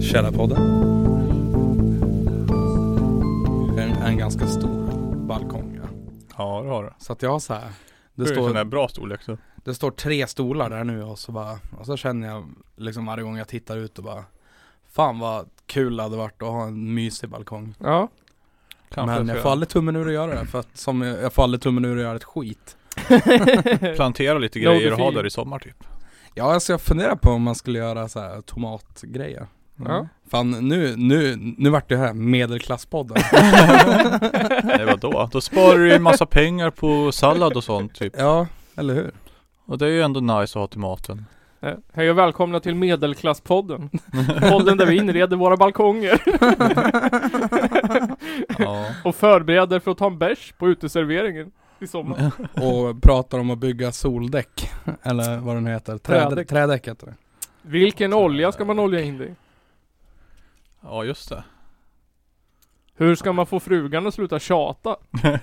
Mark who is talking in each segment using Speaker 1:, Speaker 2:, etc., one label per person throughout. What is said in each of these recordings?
Speaker 1: Källarpodden. En, en ganska stor balkong. Ja.
Speaker 2: Ja, det har du.
Speaker 1: Så att jag har så här. Det
Speaker 2: Det är en sån
Speaker 1: står,
Speaker 2: där bra storlek så.
Speaker 1: det står tre stolar där nu och så bara, och så känner jag liksom varje gång jag tittar ut och bara Fan vad kul det hade varit att ha en mysig balkong.
Speaker 3: Ja.
Speaker 2: Kanske
Speaker 1: Men
Speaker 2: ska
Speaker 1: jag får aldrig tummen ur att göra det för att som jag, jag får aldrig tummen ur att göra ett skit.
Speaker 2: plantera lite
Speaker 3: No,
Speaker 2: grejer och ha
Speaker 3: defil.
Speaker 2: där i sommar typ.
Speaker 1: Ja alltså jag funderar på om man skulle göra så här tomatgrejer.
Speaker 3: Ja.
Speaker 1: Fan nu, nu, nu vart det här medelklasspodden.
Speaker 2: Mm. Nej vadå? Då sparar du ju en massa pengar på sallad och sånt typ.
Speaker 1: ja, eller hur?
Speaker 2: Och det är ju ändå nice att ha till maten.
Speaker 3: Eh, Hej och välkomna till Medelklasspodden. Podden där vi inreder våra balkonger
Speaker 2: Ja.
Speaker 3: och förbereder för att ta en bärs på uteserveringen i sommar.
Speaker 1: Och pratar om att bygga soldäck. Eller vad den heter. Trädäck,
Speaker 3: Trädäck.
Speaker 1: trädäck heter det.
Speaker 3: Vilken olja ska man olja in det i?
Speaker 2: Ja just det.
Speaker 3: Hur ska man få frugan att sluta tjata?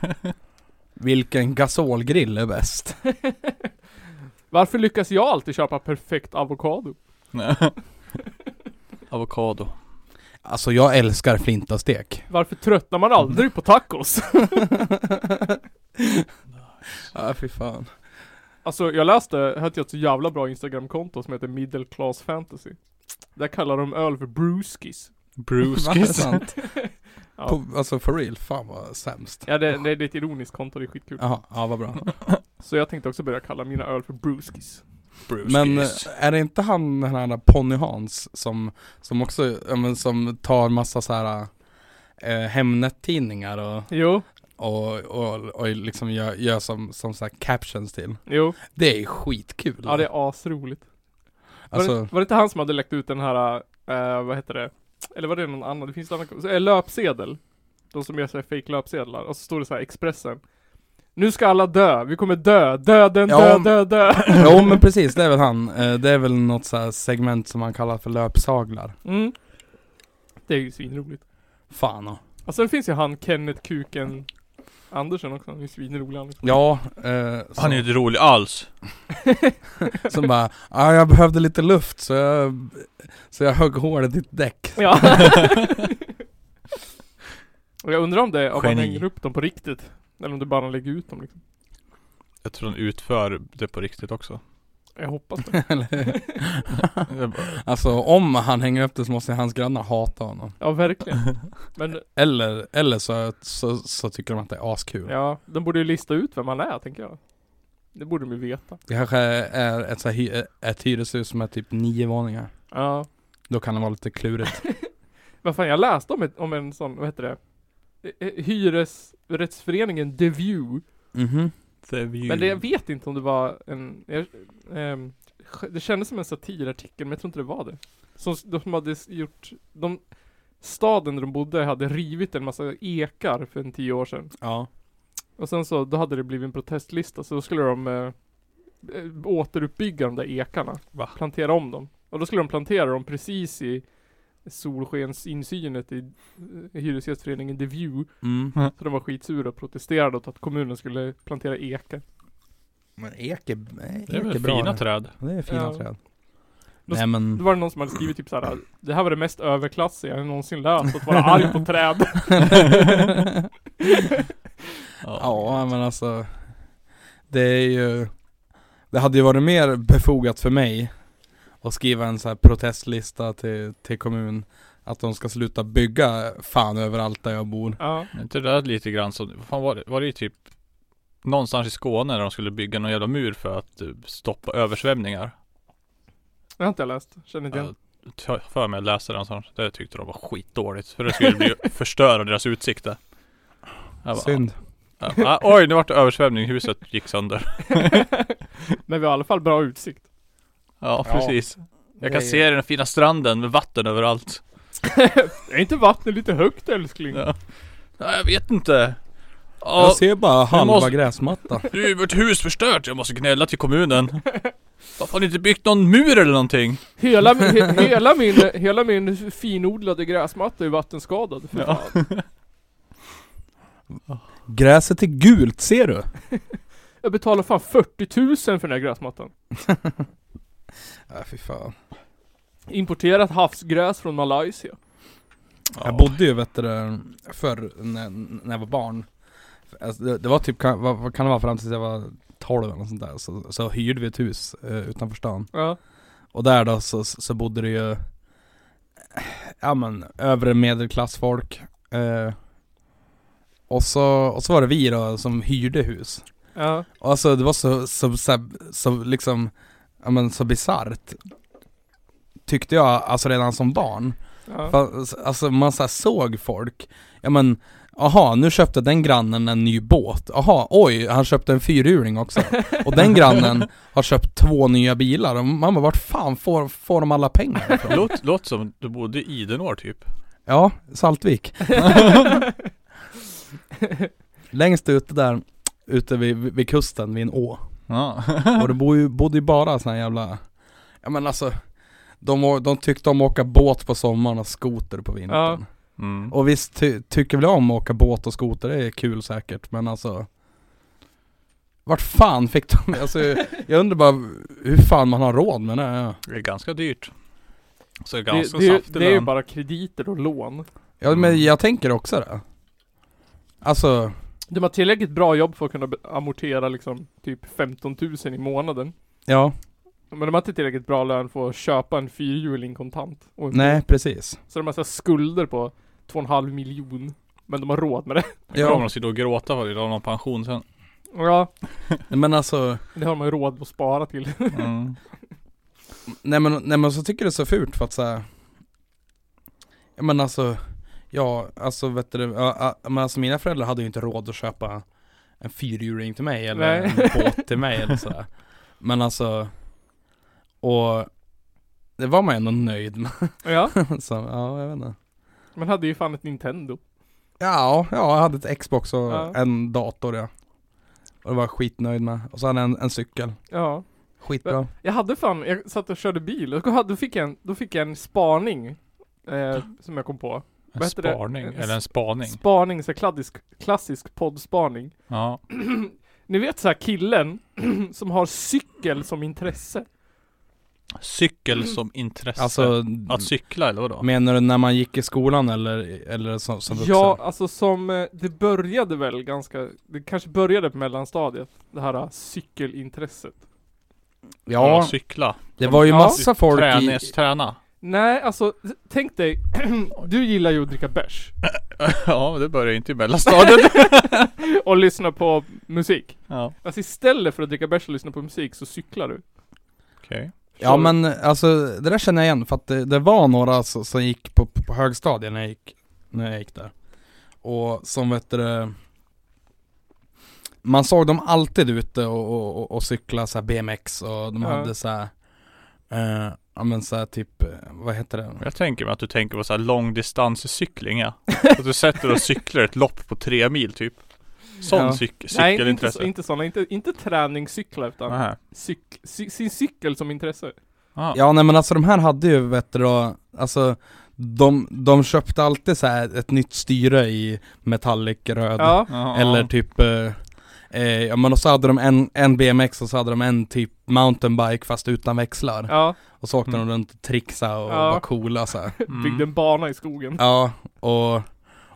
Speaker 1: Vilken gasolgrill är bäst?
Speaker 3: Varför lyckas jag alltid köpa perfekt avokado?
Speaker 2: Avokado.
Speaker 1: Alltså jag älskar flintastek.
Speaker 3: Varför tröttnar man aldrig på tacos?
Speaker 1: Ja fy fan.
Speaker 3: Alltså jag läste, här hade jag ett så jävla bra instagramkonto som heter Middle Class Fantasy. Där kallar de öl för brewskis.
Speaker 2: Brewskis.
Speaker 1: sant?
Speaker 3: Ja.
Speaker 1: På, alltså for real, fan vad sämst.
Speaker 3: Ja det, det är ett ironiskt konto, det är skitkul.
Speaker 1: Jaha, ja vad bra.
Speaker 3: Så jag tänkte också börja kalla mina öl för brewskis.
Speaker 2: Brewskis.
Speaker 1: Men eh, är det inte han den här Ponny Hans som, som också, ja, men, som tar massa så här eh, Hemnet-tidningar och,
Speaker 3: Jo,
Speaker 1: och, och, och liksom gör, gör som, som så här captions till.
Speaker 3: jo.
Speaker 1: Det är skitkul.
Speaker 3: Ja det är asroligt. Var,
Speaker 1: Alltså,
Speaker 3: det, var det inte han som hade läckt ut den här, eh, vad heter det? Eller var det någon annan? Det finns en annan, så, eh, löpsedel. De som gör såhär fake löpsedlar. Och så står det så här Expressen. Nu ska alla dö, vi kommer dö, döden,
Speaker 1: Ja,
Speaker 3: dö,
Speaker 1: om-
Speaker 3: dö, dö.
Speaker 1: jo men precis, det är väl han. Eh, Det är väl något så här segment som han kallar för löpsaglar.
Speaker 3: Mm. Det är ju svinroligt.
Speaker 1: Fan och.
Speaker 3: Och sen Alltså, finns ju han Kenneth Kuken Andersen också, han är ju svinrolig han liksom. också.
Speaker 1: Ja, eh, som,
Speaker 2: Han är ju inte rolig alls.
Speaker 1: som bara ah, jag behövde lite luft så jag, så jag högg hål i ditt däck.
Speaker 3: Ja. Och jag undrar om det, om han
Speaker 2: Geni.
Speaker 3: hänger upp dem på riktigt. Eller om det bara lägger ut dem liksom.
Speaker 2: Jag tror han utför det på riktigt också.
Speaker 3: Jag hoppas det.
Speaker 1: Eller hur?
Speaker 2: Jag bara,
Speaker 1: alltså om han hänger upp det så måste hans grannar hata honom.
Speaker 3: Ja verkligen. Men
Speaker 1: Eller, eller så, så, så tycker de att det är askul.
Speaker 3: Ja, de borde ju lista ut vem han är tänker jag. Det borde de ju veta.
Speaker 1: Det kanske är ett, så här, hy- ett hyreshus som är typ nio våningar.
Speaker 3: Ja.
Speaker 1: Då kan det vara lite klurigt.
Speaker 3: Vad fan, jag läste om, ett, om en sån, vad heter det? Eh, eh, Hyresrättsföreningen The View.
Speaker 1: Mhm.
Speaker 2: the view.
Speaker 3: Men det, jag vet inte om det var en, jag, ehm, sk- det kändes som en satirartikel men jag tror inte det var det. Som s- de som hade s- gjort, de, staden där de bodde hade rivit en massa ekar för en tio år sedan.
Speaker 1: Ja.
Speaker 3: Och sen så, då hade det blivit en protestlista så då skulle de eh, eh, återuppbygga de där ekarna.
Speaker 2: Va?
Speaker 3: Plantera om dem. Och då skulle de plantera dem precis i solskensinsynet i eh, Hyresgästföreningen The View.
Speaker 1: Mm.
Speaker 3: Så de var skitsura och protesterade åt att kommunen skulle plantera ekar.
Speaker 1: Men ek är, ek
Speaker 2: det är
Speaker 1: är,
Speaker 2: väl
Speaker 1: bra.
Speaker 2: fina
Speaker 1: det.
Speaker 2: träd.
Speaker 1: Det är fina
Speaker 3: Ja.
Speaker 1: träd.
Speaker 3: Då-
Speaker 1: Nej
Speaker 3: Då
Speaker 1: men,
Speaker 3: var det någon som hade skrivit typ såhär Det här var det mest överklassiga jag någonsin läst, att vara arg på träd.
Speaker 1: ja men alltså. Det är ju, det hade ju varit mer befogat för mig att skriva en så här protestlista till, till kommun. Att de ska sluta bygga fan överallt där jag bor.
Speaker 3: ja.
Speaker 2: Men inte det där lite grann som, vad fan var det, var det ju typ Någonstans i Skåne när de skulle bygga någon jävla mur för att eh, stoppa översvämningar.
Speaker 3: Det har inte jag läst, känner inte igen.
Speaker 2: Jag har för mig att läsa det någonstans. Det tyckte de var skitdåligt. För det skulle bli förstöra deras utsikter. Jag bara,
Speaker 1: Synd.
Speaker 2: ja, ja, oj, nu vart det översvämning. Huset gick sönder.
Speaker 3: Men vi har i alla fall bra utsikt.
Speaker 2: Ja,
Speaker 1: Ja.
Speaker 2: precis. Jag kan
Speaker 1: Det är-
Speaker 2: se den fina stranden med vatten överallt.
Speaker 3: Är inte vattnet lite högt älskling?
Speaker 2: Ja. Ja, jag vet inte. Ja,
Speaker 1: Jag ser bara halva
Speaker 2: måste-
Speaker 1: gräsmatta.
Speaker 2: du, vårt hus förstört. Jag måste gnälla till kommunen. Varför har ni inte byggt någon mur eller någonting?
Speaker 3: Hela, min- he, hela, min, hela min finodlade gräsmatta är vattenskadad. För
Speaker 2: Ja.
Speaker 3: fan.
Speaker 1: Gräset är gult, ser du?
Speaker 3: Jag betalar fan 40 000 för den här gräsmattan.
Speaker 1: Ja, fy fan.
Speaker 3: Importerat havsgräs från Malaysia.
Speaker 1: Jag bodde ju vet du, det, förr när, när jag var barn. Alltså, det, det var typ, kan, vad, vad kan det vara fram tills jag var 12 eller något sånt där. Så, så hyrde vi ett hus eh, utanför stan.
Speaker 3: Ja.
Speaker 1: Och där då så, så bodde det ju, eh, ja men övre medelklassfolk. Eh, och, så, och så var det vi då som hyrde hus.
Speaker 3: Ja.
Speaker 1: Och alltså det var så, så, så, så liksom, ja men så bisarrt. Tyckte jag, alltså redan som barn.
Speaker 3: ja.
Speaker 1: Fast, alltså man så här såg folk, ja men Aha, nu köpte den grannen en ny båt. Aha, oj, han köpte en fyrhjuling också. Och den grannen har köpt två nya bilar. Och man bara, vart fan får, får de alla pengar ifrån?
Speaker 2: Låt, låt som du bodde i Idenår typ.
Speaker 1: Ja, Saltvik. Längst ute där, ute vid, vid kusten, vid en å.
Speaker 2: Ja.
Speaker 1: Och det bodde ju, bodde ju bara såna här jävla, ja men alltså de, å- de tyckte om att åka båt på sommaren och skoter på vintern.
Speaker 2: Mm.
Speaker 1: Och visst ty, tycker väl jag om att åka båt och skoter, det är kul säkert, men alltså Vart fan fick de, alltså jag undrar bara hur fan man har råd med det här.
Speaker 2: Det är ganska dyrt. Så det är
Speaker 3: Det,
Speaker 2: ganska
Speaker 3: det, är ju-
Speaker 2: saftig
Speaker 3: det är ju
Speaker 2: lön.
Speaker 3: bara krediter och lån.
Speaker 1: Ja men jag tänker också det. Alltså,
Speaker 3: De har tillräckligt bra jobb för att kunna be- amortera liksom typ 15 000 i månaden.
Speaker 1: ja,
Speaker 3: Men de har inte tillräckligt bra lön för att köpa en fyrhjuling kontant. Och en
Speaker 1: nej precis.
Speaker 3: Så de har så här skulder på 2,5 miljon. Men de har råd med det.
Speaker 2: Ja. Kommer
Speaker 1: Ja,
Speaker 2: de sitta och gråta för det, de har någon pension sen.
Speaker 3: Ja,
Speaker 1: men alltså
Speaker 3: det har man ju råd att spara till.
Speaker 2: Mm.
Speaker 1: Nej men, nej men så tycker jag det är så fult för att säga Ja men alltså Ja alltså vet du ja, ja, men alltså mina föräldrar hade ju inte råd att köpa En fyrhjuling till mig eller
Speaker 3: Nej.
Speaker 1: en båt till mig eller sådär Men alltså Och Det var man ju ändå nöjd med
Speaker 3: Ja,
Speaker 1: så, Ja jag vet inte
Speaker 3: men hade ju fan ett Nintendo.
Speaker 1: Ja, ja jag hade ett Xbox och
Speaker 3: Ja.
Speaker 1: en dator ja Och det var jag skitnöjd med Och så hade jag en, en cykel
Speaker 3: Ja.
Speaker 1: Skitbra
Speaker 3: Jag hade fan, jag satt och körde bil och då hade- då fick jag en, då fick jag en spaning. Eh, som jag kom på. Vad
Speaker 2: En
Speaker 3: heter det?
Speaker 2: sparning,
Speaker 3: En
Speaker 2: eller en spaning.
Speaker 3: Spaning, så här klassisk, klassisk poddspaning.
Speaker 2: Ja.
Speaker 3: Ni vet så här killen som har cykel som intresse.
Speaker 2: Cykel som intresse.
Speaker 1: Alltså
Speaker 2: att cykla eller vadå?
Speaker 1: Menar du när man gick i skolan eller, eller som, som vuxen?
Speaker 3: Ja, alltså som, eh, det började väl ganska, det kanske började på mellanstadiet. Det här eh, cykelintresset.
Speaker 2: Att
Speaker 1: ja
Speaker 2: cykla.
Speaker 1: det var ju
Speaker 3: Ja.
Speaker 1: massa folk i...
Speaker 2: Tränes, träna.
Speaker 3: Nej, alltså tänk dig, du gillar ju att dricka bärs
Speaker 2: ja, men det börjar ju inte i mellanstadiet.
Speaker 3: och lyssna på musik.
Speaker 2: ja,
Speaker 3: Alltså istället för att dricka bärs och lyssna på musik så cyklar du.
Speaker 2: okej.
Speaker 1: Ja men alltså det där känner jag igen för att det, det var några som, som gick på, på högstadiet när jag gick, när jag gick där. Och som vet du det, Man såg dem alltid ute och, och, och, och cykla så här BMX och de
Speaker 3: Ja.
Speaker 1: hade så här, eh, Ja men så här typ, eh, vad heter det?
Speaker 2: Jag tänker mig att du tänker på så här långdistanscykling ja. Att du sätter dig och cyklar ett lopp på tre mil typ. Sån
Speaker 1: Ja.
Speaker 2: cyk-
Speaker 3: Nej, inte,
Speaker 2: cykelintresse.
Speaker 3: så- inte sådana, inte, inte träningscyklar utan
Speaker 2: Nähä. Ah.
Speaker 3: cyk, cy, sin cykel som intresse.
Speaker 2: Ja.
Speaker 1: Ja nej men alltså de här hade ju vet du då, alltså de, de köpte alltid så här ett nytt styre i metallic röd
Speaker 3: Ja,
Speaker 2: Ja.
Speaker 1: Eller typ, eh, eh, ja men och så hade de en, en BMX och så hade de en typ mountainbike fast utan växlar.
Speaker 3: ja.
Speaker 1: Och så åkte
Speaker 2: Mm.
Speaker 1: de runt och trixa och
Speaker 3: Ja.
Speaker 1: var coola så här.
Speaker 2: Mm.
Speaker 3: Byggde en bana i skogen.
Speaker 1: Ja, och,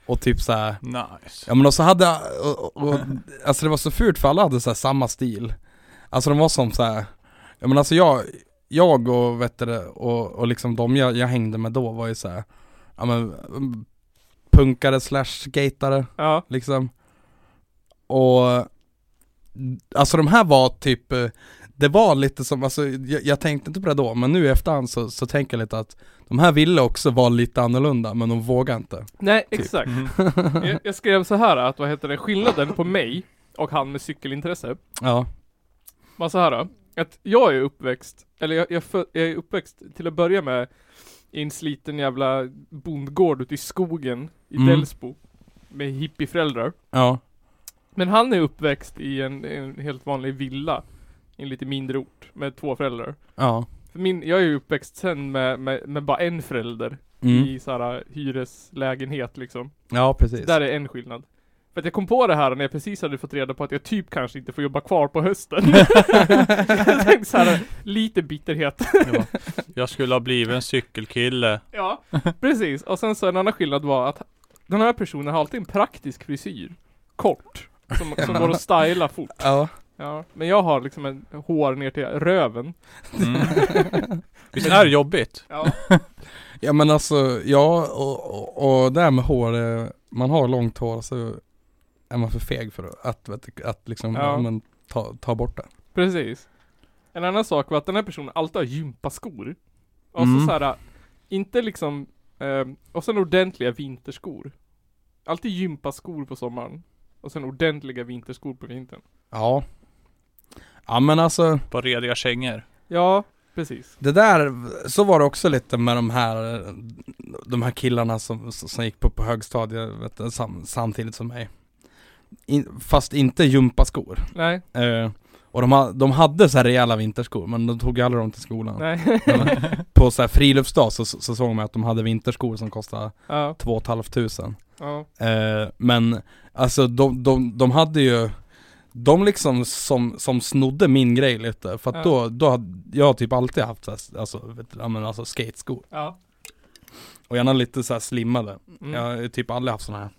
Speaker 1: och typ så här.
Speaker 2: Nice.
Speaker 1: Ja men och så hade, och, och, och, alltså det var så fult för alla hade så här samma stil. Alltså de var som så här. ja men alltså jag, jag och vet du, det, och, och liksom de jag, jag hängde med då var ju så här. ja men mm, punkare slash skatare
Speaker 3: Ja,
Speaker 1: liksom. Och alltså de här var typ, eh, det var lite som, alltså jag, jag tänkte inte på det då, men nu i efterhand så, så tänker jag lite att de här ville också vara lite annorlunda, men de vågade inte.
Speaker 3: nej exakt.
Speaker 2: Mhm.
Speaker 3: Jag, jag skrev så här att vad heter det, skillnaden på mig och han med cykelintresse
Speaker 1: Ja,
Speaker 3: var så här då, att jag är uppväxt, eller jag, jag, fö- jag är uppväxt till att börja med i en sliten jävla bondgård ute i skogen i
Speaker 1: Mm.
Speaker 3: Delsbo med hippieföräldrar.
Speaker 1: ja,
Speaker 3: Men han är uppväxt i en, en helt vanlig villa i en lite mindre ort med två föräldrar.
Speaker 1: ja.
Speaker 3: För min, jag är ju uppväxt sen med, med, med bara en förälder
Speaker 1: Mm.
Speaker 3: i så här äh, hyreslägenhet liksom.
Speaker 1: Ja precis.
Speaker 3: Där är en skillnad. För att jag kom på det här när jag precis hade fått reda på att jag typ kanske inte får jobba kvar på hösten. jag tänkte så här, lite bitterhet.
Speaker 2: Ja. Jag skulle ha blivit en cykelkille.
Speaker 3: Ja, precis. Och sen så en annan skillnad var att den här personen har alltid en praktisk frisyr. Kort. Som, som går att styla fort.
Speaker 1: Ja.
Speaker 3: Ja. Men jag har liksom en hår ner till röven.
Speaker 2: Mm. Visst är det jobbigt?
Speaker 3: Ja.
Speaker 1: Ja men alltså, ja och, och, och det här med hår, eh, man har långt hår så är man för feg för att, att, att liksom,
Speaker 3: Ja.
Speaker 1: ja. men, ta, ta bort det.
Speaker 3: Precis. En annan sak var att den här personen alltid har gympaskor. Och så
Speaker 2: Mm.
Speaker 3: såhär, inte liksom, eh, och sen ordentliga vinterskor. Alltid gympaskor på sommaren. Och sen ordentliga vinterskor på vintern.
Speaker 1: Ja. Ja men alltså,
Speaker 2: På rediga kängor.
Speaker 3: Ja, precis.
Speaker 1: det där, så var det också lite med de här, de här killarna som, som gick på, på högstadiet vet, du, sam, samtidigt som mig. In, fast inte gympaskor.
Speaker 3: Nej,
Speaker 1: Eh, och de, ha, de hade så här rejäla vinterskor men de tog aldrig dem till skolan.
Speaker 3: nej.
Speaker 1: På så här friluftsdag så, så, så såg man att de hade vinterskor som kostade
Speaker 3: ja,
Speaker 1: 2 500.
Speaker 3: ja.
Speaker 1: Eh, men alltså de, de, de hade ju de liksom som, som snodde min grej lite, för att
Speaker 3: Ja.
Speaker 1: då, då hade, jag har typ alltid haft så här, alltså, vet du, ja, men alltså skateskor
Speaker 3: Ja.
Speaker 1: och gärna lite så här slimmade.
Speaker 3: Mm.
Speaker 1: Jag har typ aldrig haft såna här,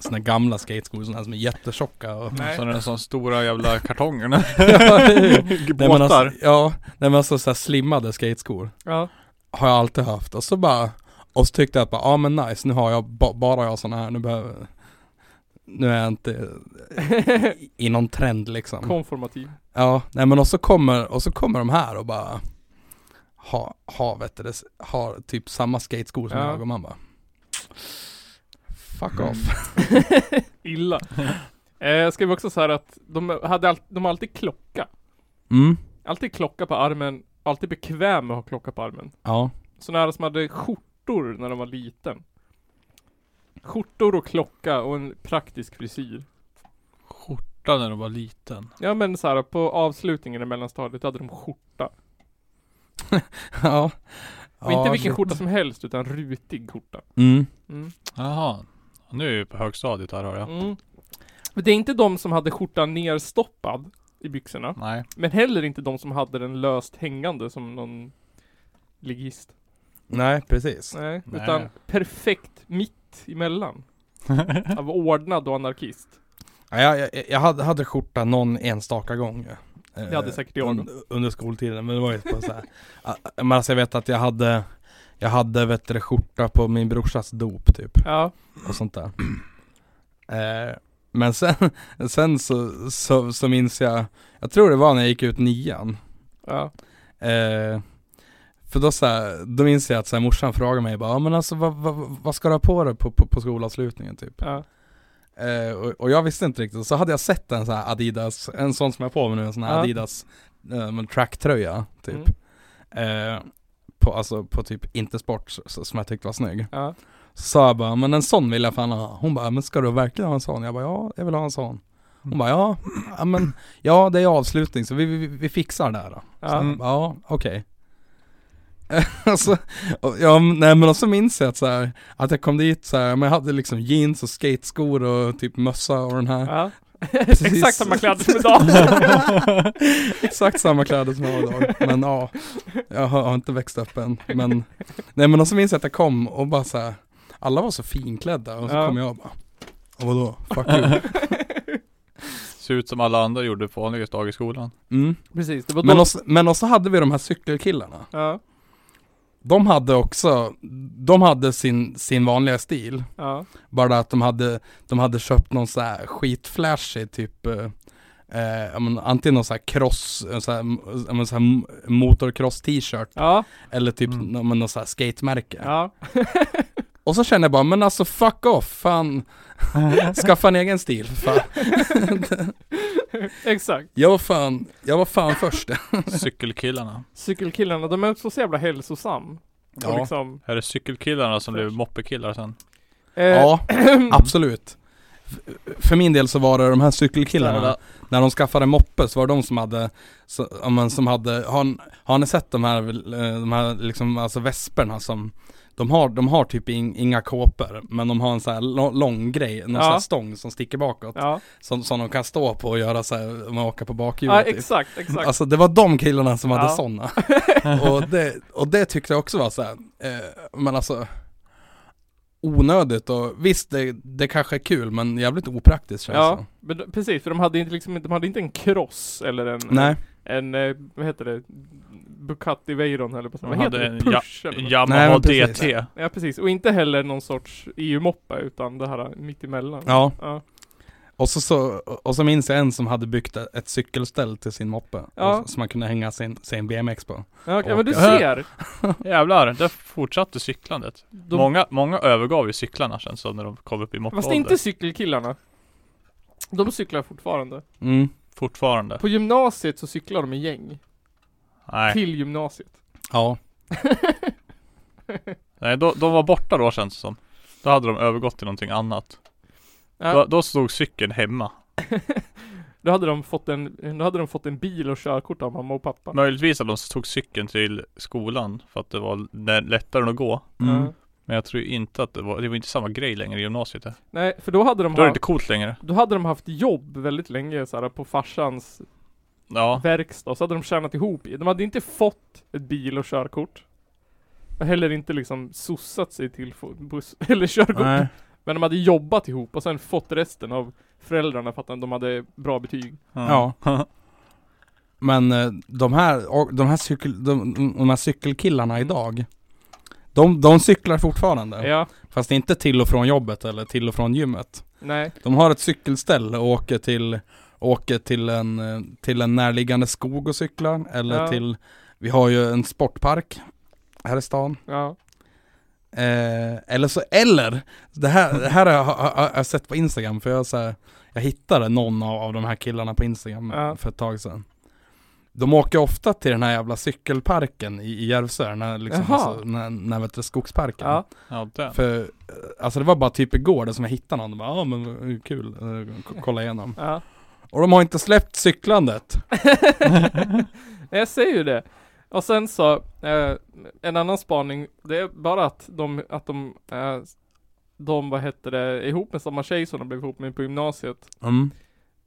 Speaker 1: såna här gamla skateskor, såna här som är jättetjocka och
Speaker 3: Nej.
Speaker 2: Så den sån stora jävla kartongerna.
Speaker 1: Nej men
Speaker 2: Båtar.
Speaker 1: alltså, ja, nej men alltså så här slimmade skateskor
Speaker 3: Ja.
Speaker 1: har jag alltid haft och så bara, och så tyckte jag att bara, ja ah, men nice, nu har jag, ba, bara jag såna här, nu behöver, nu är jag inte i- i någon trend liksom.
Speaker 3: Konformativ.
Speaker 1: Ja, nej men och så kommer, och så kommer de här och bara ha, ha vet du, det, har typ samma skateskor som
Speaker 3: Ja.
Speaker 1: jag och man bara Fuck off.
Speaker 3: Illa. Eh, jag skrev också så här att de hade all, de har alltid klocka.
Speaker 1: Mm,
Speaker 3: Alltid klocka på armen, alltid bekväm med att ha klocka på armen.
Speaker 1: ja.
Speaker 3: Sådana här som hade skjortor när de var liten. Skjortor och klocka och en praktisk frisyr.
Speaker 2: Skjorta när du var liten.
Speaker 3: Ja men så här på avslutningen i mellanstadiet hade de skjorta.
Speaker 1: ja.
Speaker 3: Och inte vilken skjorta som helst utan rutig skjorta.
Speaker 1: Mm.
Speaker 3: Mm.
Speaker 2: Jaha. Nu är vi på högstadiet här hör jag.
Speaker 3: Mm. Men det är inte de som hade skjortan nerstoppad i byxorna.
Speaker 2: Nej.
Speaker 3: Men heller inte de som hade den löst hängande som någon ligist.
Speaker 1: Nej, precis.
Speaker 3: Nej,
Speaker 2: Nej.
Speaker 3: utan perfekt mitt emellan. Av ordnad och anarkist.
Speaker 1: Ja, jag jag, jag hade, hade skjorta någon enstaka gång. eh,
Speaker 3: Det hade säkert jag.
Speaker 1: un- Under skoltiden, men det var ju på så här. Ah, Men alltså jag vet att jag hade jag hade vet du, skjorta på min brorsas dop typ.
Speaker 3: Ja,
Speaker 1: och sånt där. Eh, men sen, sen så, så, så minns jag, jag tror det var när jag gick ut nian.
Speaker 3: ja,
Speaker 1: Eh, för då, så här, då minns jag att så här, morsan frågade mig bara, "Ja, men alltså vad, vad, vad ska du ha på dig på, på, på skolavslutningen typ?
Speaker 3: ja.
Speaker 1: Eh, och, och jag visste inte riktigt, så hade jag sett en sån här Adidas, en sån som jag har på mig nu, en sån här
Speaker 3: Ja.
Speaker 1: Adidas eh, men tracktröja typ.
Speaker 3: Mm,
Speaker 1: Eh, på, alltså på typ Intersport s- s- som jag tyckte var snygg.
Speaker 3: ja.
Speaker 1: Så sa jag bara, men en sån vill jag fan ha. Hon bara, men ska du verkligen ha en sån? Jag bara, ja, jag vill ha en sån. Hon bara, ja, ja, men, ja det är avslutning så vi, vi, vi fixar det här då. Så
Speaker 3: Ja.
Speaker 1: jag bara, Mm, ja, okej. Och så- och, ja, men- nej men och så minns jag att, så här, att jag kom dit så här, men jag hade liksom jeans och skateskor och typ mössa och den här.
Speaker 3: Ja.
Speaker 1: Precis.
Speaker 3: Exakt samma kläder som idag.
Speaker 1: Exakt samma kläder som jag har idag, men ja. Jag har, har inte växt upp än. Men, nej men och så minns jag att jag kom och bara så här, alla var så finklädda och så
Speaker 3: Ja.
Speaker 1: kom jag och bara, och vadå, fuck you.
Speaker 2: Ser ut som alla andra gjorde på vanliga dag i skolan.
Speaker 1: Mm.
Speaker 3: Precis, det var
Speaker 1: Men,
Speaker 3: då.
Speaker 1: och, så- men och så hade vi de här cykelkillarna.
Speaker 3: Ja,
Speaker 1: De hade också, de hade sin, sin vanliga stil.
Speaker 3: ja,
Speaker 1: Bara att de hade, de hade köpt någon så här skitflashig typ eh, Eh, ja, men antingen någon sån här cross, en sån här, ja, men sån här motocross t-shirt
Speaker 3: ja,
Speaker 1: eller typ
Speaker 2: Mm.
Speaker 1: mm. någon sån här skatemärke.
Speaker 3: ja.
Speaker 1: Och så känner jag bara, men alltså fuck off, fan. Skaffa en egen stil, för fan.
Speaker 3: Exakt.
Speaker 1: Jag var fan, jag var fan först.
Speaker 2: Cykelkillarna.
Speaker 3: Cykelkillarna, de är också så jävla hälsosam. Och
Speaker 1: Ja,
Speaker 3: liksom,
Speaker 2: Här är cykelkillarna som blev moppekillar sen.
Speaker 3: eh,
Speaker 1: ja absolut. F- För min del så var det de här cykelkillarna, när de skaffade moppe så var det de som hade, så, ja, men som hade har, har ni sett de här, eh, de här liksom, alltså vesperna som De har, de har typ in, inga kåpor, men de har en så här lång, lång grej, någon
Speaker 3: Ja.
Speaker 1: sån här stång som sticker bakåt.
Speaker 3: Ja,
Speaker 1: Som, som de kan stå på och göra så här, om man åker på bakhjulet
Speaker 3: ja
Speaker 1: typ.
Speaker 3: exakt, exakt.
Speaker 1: Alltså det var de killarna som hade
Speaker 3: Ja.
Speaker 1: sådana. Och det, och det tyckte jag också var såhär, eh, men alltså onödigt och visst det, det kanske är kul men jävligt opraktiskt känns
Speaker 3: Ja,
Speaker 1: det.
Speaker 3: men de- precis, för de hade inte liksom, de hade inte en cross eller en,
Speaker 1: Nej,
Speaker 3: en, eh, vad heter det, Bucati Veyron eller vad,
Speaker 2: De
Speaker 3: vad
Speaker 2: hade
Speaker 3: heter det?
Speaker 2: en ja-
Speaker 3: Push eller vad?
Speaker 1: Nej,
Speaker 2: Yamaha
Speaker 1: men precis.
Speaker 2: DT.
Speaker 3: Ja precis, och inte heller någon sorts EU-moppa utan det här mitt emellan.
Speaker 1: ja.
Speaker 3: Ja,
Speaker 1: Och så, så, och så minns jag en som hade byggt ett cykelställ till sin moppe.
Speaker 3: Ja.
Speaker 1: Och, som man kunde hänga sin, sin BMX på.
Speaker 3: ja, okej, ja men du
Speaker 1: Åka.
Speaker 3: ser.
Speaker 2: Jävlar, där fortsatte cyklandet.
Speaker 3: De,
Speaker 2: Många, många övergav ju cyklarna sen så när de kom upp i
Speaker 3: fast det är
Speaker 2: moppeålder.
Speaker 3: inte cykelkillarna. De cyklar fortfarande.
Speaker 1: Mm.
Speaker 2: Fortfarande.
Speaker 3: På Typ. gymnasiet så cyklar de i gäng.
Speaker 2: Nej.
Speaker 3: Till gymnasiet.
Speaker 1: Ja,
Speaker 2: Nej, då, de var borta då känns det som. Då hade de övergått till någonting annat.
Speaker 3: Ja.
Speaker 2: Då, då stod cykeln hemma.
Speaker 3: Då hade de fått en, då hade de fått en bil och körkort av mamma och pappa.
Speaker 2: Möjligtvis att de tog cykeln till skolan för att det var nä- lättare att gå.
Speaker 1: mm.
Speaker 3: Ja.
Speaker 2: Men jag tror inte att det var, det var inte samma grej längre i gymnasiet. Då
Speaker 3: Nej, för då hade de
Speaker 2: är det
Speaker 3: haft,
Speaker 2: inte coolt längre.
Speaker 3: då hade de haft jobb väldigt länge så här, på farsans
Speaker 2: Ja,
Speaker 3: verkstad, så hade de tjänat ihop. De hade inte fått ett bil och körkort. Och heller inte liksom sossat sig till få- buss eller körkort.
Speaker 1: Nej.
Speaker 3: Men de hade jobbat ihop och sen fått resten av föräldrarna för att de hade bra betyg.
Speaker 1: Ja. Men eh, de här, och de här, cykel, de, de här cykelkillarna
Speaker 3: Mm.
Speaker 1: idag, de, de cyklar fortfarande.
Speaker 3: Ja,
Speaker 1: Fast inte till och från jobbet eller till och från gymmet.
Speaker 3: nej.
Speaker 1: De har ett cykelställe och åker till, åker till, en, eh, till en närliggande skog och cyklar. Eller
Speaker 3: Ja.
Speaker 1: till, vi har ju en sportpark här i stan.
Speaker 3: Ja.
Speaker 1: Eh, eller så, eller, det här, det här har jag- har har jag sett på Instagram för jag, så här, jag hittade någon av, av de här killarna på Instagram
Speaker 3: Ja.
Speaker 1: för ett tag sedan. De åker ofta till den här jävla cykelparken i, i Järvsö, den här, liksom,
Speaker 3: Jaha.
Speaker 1: alltså, den här, den här vet du, skogsparken.
Speaker 3: ja.
Speaker 2: ja den.
Speaker 1: För, eh, alltså det var bara typ igår det som jag hittade någon, och bara, ja ah, men eh, kul, eh, k- kolla igenom.
Speaker 3: ja.
Speaker 1: Och de har inte släppt cyklandet.
Speaker 3: Nej, jag säger ju det. Och sen så, eh, en annan spaning, det är bara att de, att de, eh, de vad heter det, är ihop med samma tjej som de blev ihop med på gymnasiet.
Speaker 1: Mm.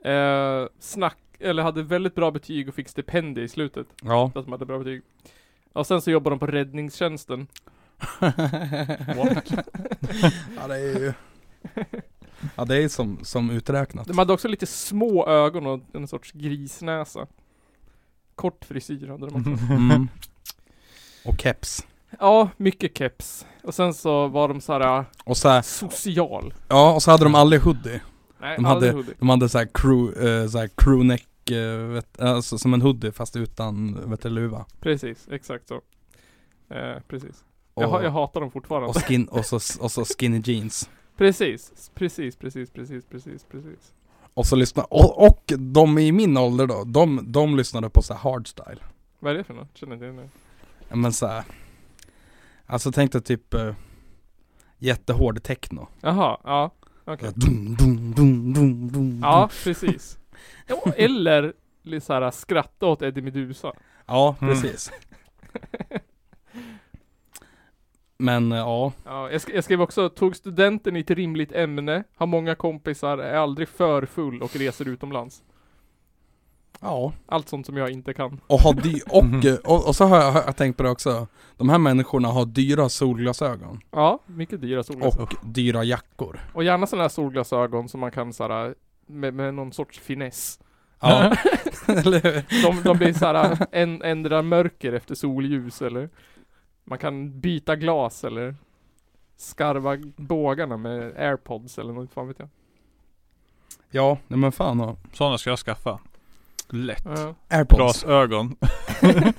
Speaker 3: Eh, snack, eller hade väldigt bra betyg och fick stipendier i slutet.
Speaker 1: Ja.
Speaker 3: För att de hade bra betyg. Och sen så jobbar de på räddningstjänsten.
Speaker 2: What?
Speaker 1: ja det är ju Ja det är som, som uträknat.
Speaker 3: De hade också lite små ögon och en sorts grisnäsa. Kort frisyr hade de också.
Speaker 1: Mm. Och keps.
Speaker 3: Ja, mycket keps. Och sen så var de så här eh,
Speaker 1: Och så här,
Speaker 3: social.
Speaker 1: ja och så hade de aldrig hoodie.
Speaker 3: Nej,
Speaker 1: De
Speaker 3: aldrig
Speaker 1: hade-
Speaker 3: hoodie.
Speaker 1: De hade så här crew, eh, så här crewneck, eh, vet, alltså som en hoodie fast utan vet, du, luva.
Speaker 3: Precis, exakt så. Eh, precis.
Speaker 1: Och,
Speaker 3: Jag, ha- jag hatar dem fortfarande.
Speaker 1: och, skin, och, så, och så skinny jeans.
Speaker 3: Precis, precis, precis, precis, precis, precis.
Speaker 1: Och så lyssna, och, och de i min ålder då, de, de lyssnade på så här hardstyle.
Speaker 3: Vad är det för något? Känner inte igen det.
Speaker 1: Ja, Men så här, alltså tänk dig typ eh, jättehård techno.
Speaker 3: Jaha, ja.
Speaker 1: Så
Speaker 3: Okej.
Speaker 1: här, Dum, dum, dum, dum, dum,
Speaker 3: Ja,
Speaker 1: dum.
Speaker 3: precis. Ja, Eller li- så här, skratta åt Eddie Meduza.
Speaker 1: ja
Speaker 2: Mm.
Speaker 1: precis. Men eh, ja,
Speaker 3: Ja, jag, sk- jag skrev också, tog studenten i ett rimligt ämne, har många kompisar, är aldrig för full och reser utomlands.
Speaker 1: ja.
Speaker 3: Allt sånt som jag inte kan.
Speaker 1: Och, har dy- och, eh, och, och så har jag, har jag tänkt på det också. De här människorna har dyra solglasögon
Speaker 3: Ja, mycket dyra solglasögon.
Speaker 1: och dyra jackor.
Speaker 3: Och gärna sådana här solglasögon som man kan såhär, med, med någon sorts finess.
Speaker 1: Ja, eller hur?
Speaker 3: De, de blir såhär, en, ändrar mörker efter solljus eller Man kan byta glas eller Skarva bågarna med airpods eller något, fan vet jag.
Speaker 1: Ja, nej men fan. ja.
Speaker 2: Sådana ska jag skaffa. Lätt.
Speaker 3: Ja.
Speaker 1: Airpods.
Speaker 2: Glasögon.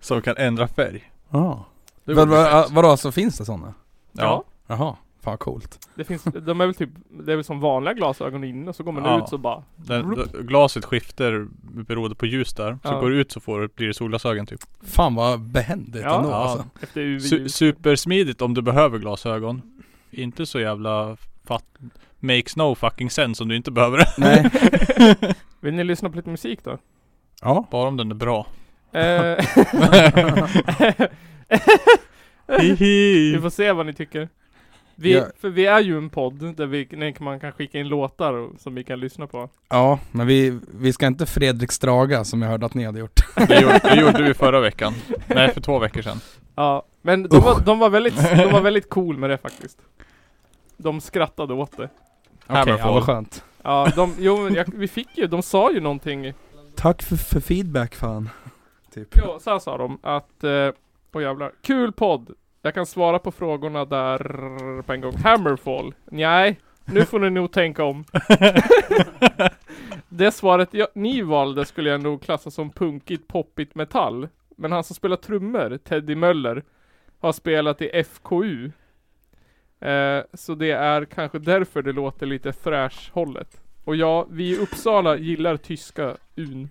Speaker 2: Som kan ändra färg.
Speaker 1: Ja.
Speaker 2: Det
Speaker 1: Vad-
Speaker 2: vore
Speaker 1: vad-
Speaker 2: fett.
Speaker 1: vadå, så finns det sådana?
Speaker 3: ja.
Speaker 2: Ja.
Speaker 1: Jaha, fan coolt.
Speaker 3: Det finns, de är väl typ, det är väl som vanliga glasögon inne och så går man
Speaker 2: Ja.
Speaker 3: ut så bara
Speaker 2: Den, d- glaset skiftar beroende på ljus där. Så
Speaker 3: Ja.
Speaker 2: går du ut så får, blir det solglasögon typ.
Speaker 1: Fan vad behändigt
Speaker 3: Ja.
Speaker 1: ändå
Speaker 2: Ja.
Speaker 1: alltså.
Speaker 3: efter UV
Speaker 2: Su- supersmidigt om du behöver glasögon. Inte så jävla fatt... Makes no fucking sense om du inte behöver det.
Speaker 1: Nej.
Speaker 3: Vill ni lyssna på lite musik då?
Speaker 1: Ja.
Speaker 2: Bara om den är bra.
Speaker 3: Eh, Vi
Speaker 2: Hihi.
Speaker 3: får se vad ni tycker. Vi,
Speaker 1: Ja.
Speaker 3: För vi är ju en podd där vi, nej, man kan skicka in låtar och- som vi kan lyssna på.
Speaker 1: Ja, men vi, vi ska inte Fredrik Straga som jag hörde att ni hade gjort.
Speaker 2: Det gjorde, det gjorde vi förra veckan. Nej, för två veckor sedan.
Speaker 3: Ja, men de var, de var väldigt, de var väldigt cool med det faktiskt. De skrattade åt det.
Speaker 1: Okej, ja,
Speaker 2: Hammerfall.
Speaker 1: vad skönt.
Speaker 3: Ja, de, jo men jag, vi fick ju, de sa ju någonting.
Speaker 1: Tack för, för feedback fan. Typ.
Speaker 3: Jo, så här sa de att, eh, åh jävlar. Kul podd! Jag kan svara på frågorna där på en gång. Hammerfall? Nej, nu får ni nog tänka om. Det svaret jag, ni valde skulle jag nog klassa som punkigt, poppigt metall. Men han som spelar trummor, Teddy Möller, har spelat i FKU. Eh, så det är kanske därför det låter lite thrash-hållet. Och ja, vi i Uppsala gillar tyska un.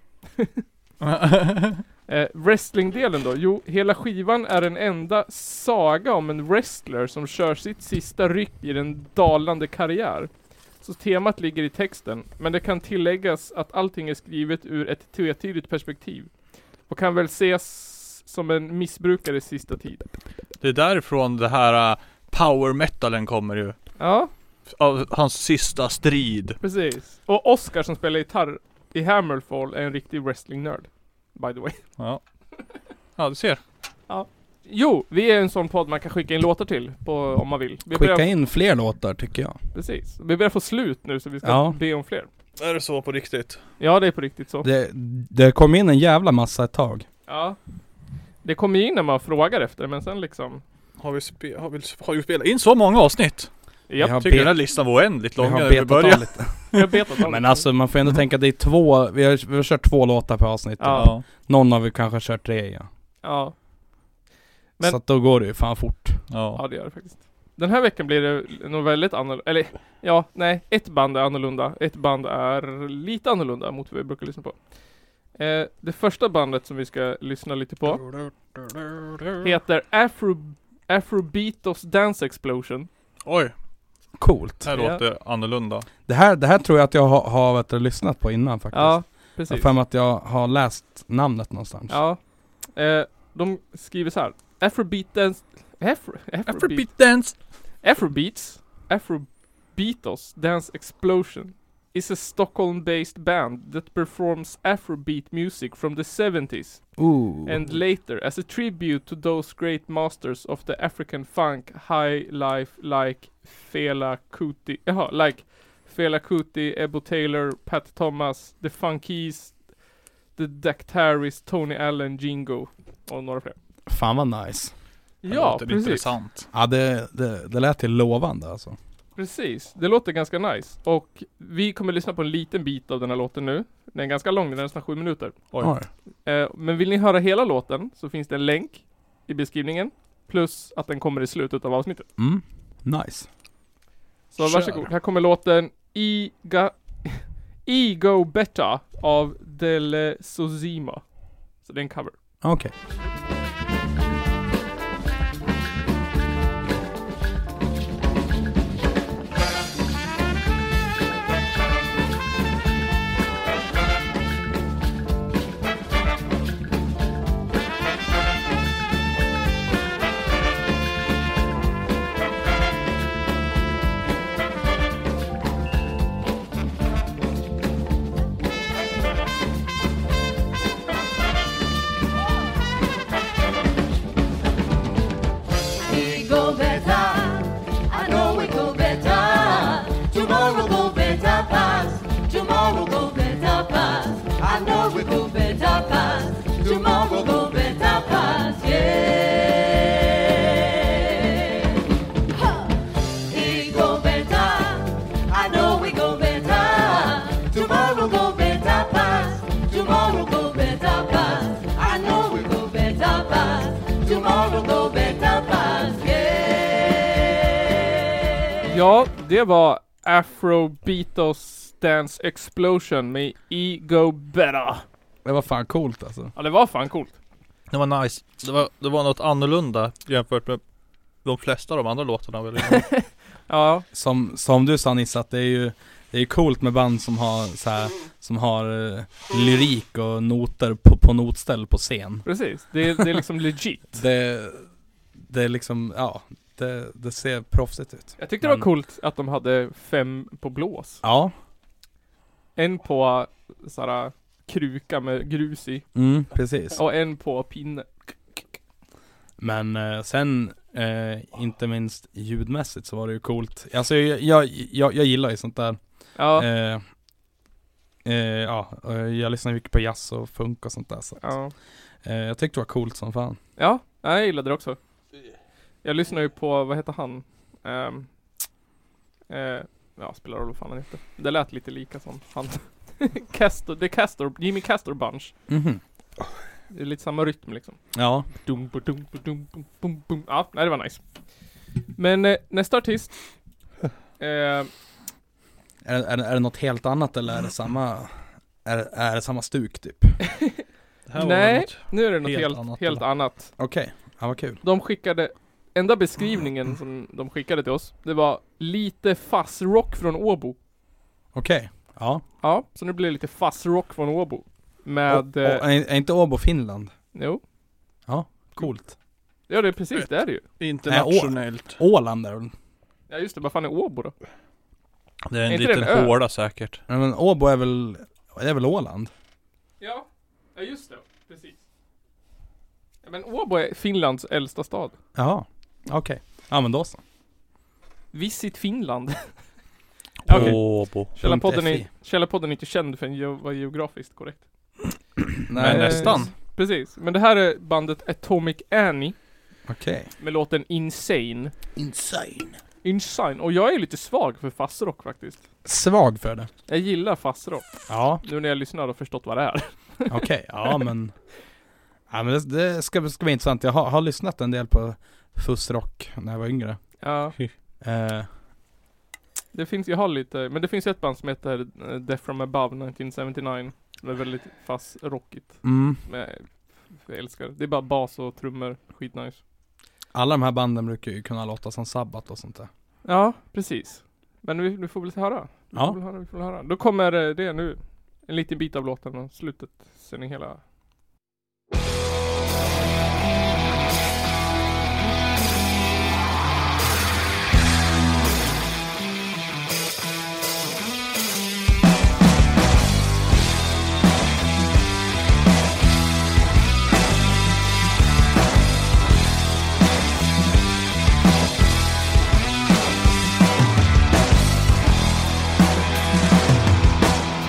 Speaker 3: Eh, wrestlingdelen då? Jo, hela skivan är en enda saga om en wrestler som kör sitt sista ryck i den dalande karriär. Så temat ligger i texten, men det kan tilläggas att allting är skrivet ur ett tvetydigt perspektiv. Och kan väl ses som en missbrukares sista tid.
Speaker 2: Det är därifrån det här eh, power metalen kommer ju.
Speaker 3: Ja,
Speaker 2: Av hans sista strid.
Speaker 3: precis. Och Oscar som spelar gitarr i Hammerfall är en riktig wrestling-nörd. By the way.
Speaker 2: Ja. Ja, du ser.
Speaker 3: Jo, vi är en sån podd man kan skicka in låtar till på, om man vill. Vi börjar-
Speaker 1: Skicka in fler låtar tycker jag.
Speaker 3: Precis. Vi börjar få slut nu så vi ska
Speaker 1: Ja.
Speaker 3: be om fler.
Speaker 2: Är det så på riktigt?
Speaker 3: Ja, det är på riktigt så.
Speaker 1: Det, det kom in en jävla massa ett tag.
Speaker 3: Ja. Det kommer ju in när man frågar efter men sen liksom.
Speaker 2: Har vi, spe- har vi, har vi spelat in så många avsnitt?
Speaker 1: Vi har
Speaker 2: Jag
Speaker 1: be-
Speaker 2: tycker den här listan var oändligt lång när vi
Speaker 1: betat av
Speaker 2: började.
Speaker 1: lite.
Speaker 3: Jag betat av
Speaker 1: Men
Speaker 3: det.
Speaker 1: alltså man får ändå tänka att det är två, vi har, vi har kört två låtar per avsnitt.
Speaker 3: Ja.
Speaker 1: Någon har vi kanske kört tre ja.
Speaker 3: Ja. Men-
Speaker 1: Så att då går det ju fan fort.
Speaker 2: Ja.
Speaker 3: ja, det gör det faktiskt. Den här veckan blir det nog väldigt annorlunda, eller ja, nej, ett band är annorlunda, ett band är lite annorlunda mot vad vi brukar lyssna på. Eh, det första bandet som vi ska lyssna lite på heter Afro, Afrobeatos Dance Explosion.
Speaker 2: Oj,
Speaker 1: Coolt.
Speaker 2: det här
Speaker 3: Ja.
Speaker 2: låter annorlunda.
Speaker 1: Det här, det här tror jag att jag har, har vet du, lyssnat på innan faktiskt.
Speaker 3: Ja,
Speaker 1: Jag har
Speaker 3: precis.
Speaker 1: för mig att jag har läst namnet någonstans.
Speaker 3: Ja. Eh, de skriver så här. Afrobeat dance... Afro, Afrobeat,
Speaker 2: Afrobeat dance!
Speaker 3: Afrobeats? Afrobeatos Dance Explosion is a Stockholm-based band that performs Afrobeat music from the 70s
Speaker 1: Ooh.
Speaker 3: and later as a tribute to those great masters of the African funk high life like Fela Kuti, jaha, like Fela Kuti, Ebo Taylor, Pat Thomas, The Funkies, The Dactaris, Tony Allen, Jingo och några fler.
Speaker 1: Fan vad nice.
Speaker 2: Det
Speaker 3: Ja,
Speaker 2: låter
Speaker 3: precis.
Speaker 2: intressant.
Speaker 1: Ja det, det, det lät ju lovande alltså.
Speaker 3: Precis, det låter ganska nice. Och vi kommer lyssna på en liten bit av den här låten nu. Den är ganska lång, den är nästan sju minuter.
Speaker 2: Oj.
Speaker 1: Oj.
Speaker 3: Eh, men vill ni höra hela låten så finns det en länk i beskrivningen. Plus att den kommer i slutet av avsnittet.
Speaker 1: Mm. Nice.
Speaker 3: Så
Speaker 2: Kör.
Speaker 3: varsågod, här kommer låten Iga, Ego Betta av Dele Sozima. Så det är en cover.
Speaker 1: Okej.
Speaker 4: We go better. I know we go better. Tomorrow go better past. Tomorrow go better past. I know we go better past. Tomorrow go better past. Yeah. We go better. I know we go better. Tomorrow go better past. Tomorrow go better past. I know we go better past. Tomorrow go better past. Yeah.
Speaker 3: Ja, det var Afrobeatos Dance Explosion med Ego Betta.
Speaker 1: Det var fan coolt alltså.
Speaker 3: Ja, det var fan coolt.
Speaker 2: Det var nice. Det var, det var något annorlunda jämfört med de flesta av de andra låtarna. väl?
Speaker 3: Ja,
Speaker 1: Som, som du sa Nisse, att det är ju det är ju coolt med band som har så här, som har eh, lyrik och noter på, på notställ på scen.
Speaker 3: precis. Det, är- det är liksom legit.
Speaker 1: Det, det är liksom, ja, det, det ser proffsigt ut.
Speaker 3: Jag tyckte det var
Speaker 1: Men-
Speaker 3: coolt att de hade fem på blås.
Speaker 1: Ja.
Speaker 3: En på såhär kruka med grus i
Speaker 1: Mm, precis.
Speaker 3: och en på pinne.
Speaker 1: Men eh, sen, eh, inte minst ljudmässigt så var det ju coolt. Alltså jag, jag, jag, jag gillar ju sånt där.
Speaker 3: Ja,
Speaker 1: Eh, eh, ja, eh, jag lyssnar mycket på jazz och funk och sånt där. Så. att,
Speaker 3: ja.
Speaker 1: Eh, jag tyckte det var coolt som fan.
Speaker 3: ja jag gillade det också. Jag lyssnar ju på, vad heter han? Ehm, eh, ja, spelar roll vad fan han heter. Det lät lite lika som han. Castor, det är Castor, Jimmy Castor Bunch.
Speaker 1: Mhm.
Speaker 3: Det är lite samma rytm liksom.
Speaker 1: Ja.
Speaker 3: Dum, ba, dum, ba, dum, bum, bum, bum. Ja, nej det var nice. Men eh, nästa artist. Eh,
Speaker 1: Är, det- är, det- är det något helt annat eller är det samma, är, det- är det samma stuk typ?
Speaker 2: Det här var
Speaker 3: Nej.
Speaker 2: väl något-
Speaker 3: nu är det något
Speaker 2: Helt
Speaker 3: helt, helt,
Speaker 2: annat,
Speaker 3: annat,
Speaker 2: eller?
Speaker 1: Okej, ja vad kul.
Speaker 3: De skickade, enda beskrivningen som de skickade till oss, det var lite fuzz-rock från Åbo.
Speaker 1: Okej, ja.
Speaker 3: Ja, så nu blir det lite fuzz-rock från Åbo.
Speaker 1: Och,
Speaker 3: Med,
Speaker 1: och,
Speaker 3: eh,
Speaker 1: är, är inte Åbo Finland?
Speaker 3: jo.
Speaker 1: Coolt.
Speaker 3: Ja det är precis, det är det ju.
Speaker 2: Internationellt.
Speaker 1: Åland är väl?
Speaker 3: Ja just det, vad fan är Åbo då?
Speaker 2: Det är en
Speaker 3: Är inte det
Speaker 2: liten
Speaker 3: en ö?
Speaker 2: håla säkert.
Speaker 1: Nej men Åbo är väl, det är väl Åland?
Speaker 3: Ja, ja just det, precis. Ja, men Åbo är Finlands äldsta stad.
Speaker 1: Jaha, okej. Ja men då så.
Speaker 3: Visit Finland. Okej.
Speaker 2: Åbo.
Speaker 3: Källarpodden
Speaker 1: .fi.
Speaker 3: är, Källarpodden är inte känd för att ge- vara geografiskt korrekt.
Speaker 1: Nej,
Speaker 2: Men nästan.
Speaker 3: Precis, men det här är bandet Atomic Annie
Speaker 1: Okej.
Speaker 3: med låten Insane.
Speaker 1: Insane.
Speaker 3: Insane, och jag är lite svag för fassrock faktiskt.
Speaker 1: Svag för det.
Speaker 3: Jag gillar fassrock,
Speaker 1: Ja,
Speaker 3: nu när jag lyssnar och förstått vad det är.
Speaker 1: okej. Ja men. Ja men det, det ska, ska bli intressant. Jag har, har lyssnat en del på fussrock när jag var yngre.
Speaker 3: Ja,
Speaker 1: Eh,
Speaker 3: det finns, jag har lite, men det finns ju ett band som heter eh, Death from above 1979. Det är väldigt fassrockigt.
Speaker 1: mm.
Speaker 3: Men jag- jag älskar det. Det är bara bas och trummor, skitnice.
Speaker 1: Alla de här banden brukar ju kunna låta som Sabbat och sånt där.
Speaker 3: Ja, precis. Men vi, vi får väl höra. Vi
Speaker 1: Ja.
Speaker 3: får väl höra, vi får väl höra. Då kommer eh, det nu. En liten bit av låten och slutet, sen i hela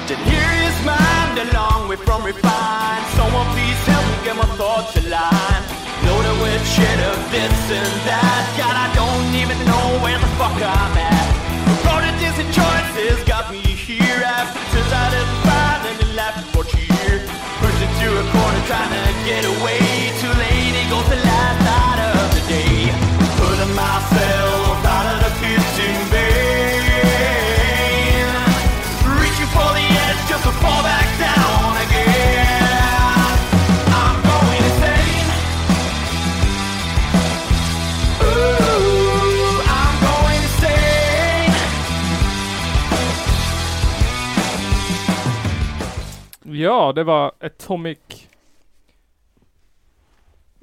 Speaker 5: Delirious mind, a long way from refined. Someone please help me get my thoughts aligned. Loaded with shit of this and that. God, I don't even know where the fuck I'm at. The road of distant choices got me here. After turns out it's fine and the life is what you hear. Pushing through a corner trying to get away. Too late, it goes the last light of the day. Putting myself out of the pits in vain. Reaching for the edge just to fall back down again. I'm going insane. Ooh, I'm going insane.
Speaker 3: Ja, det var Atomic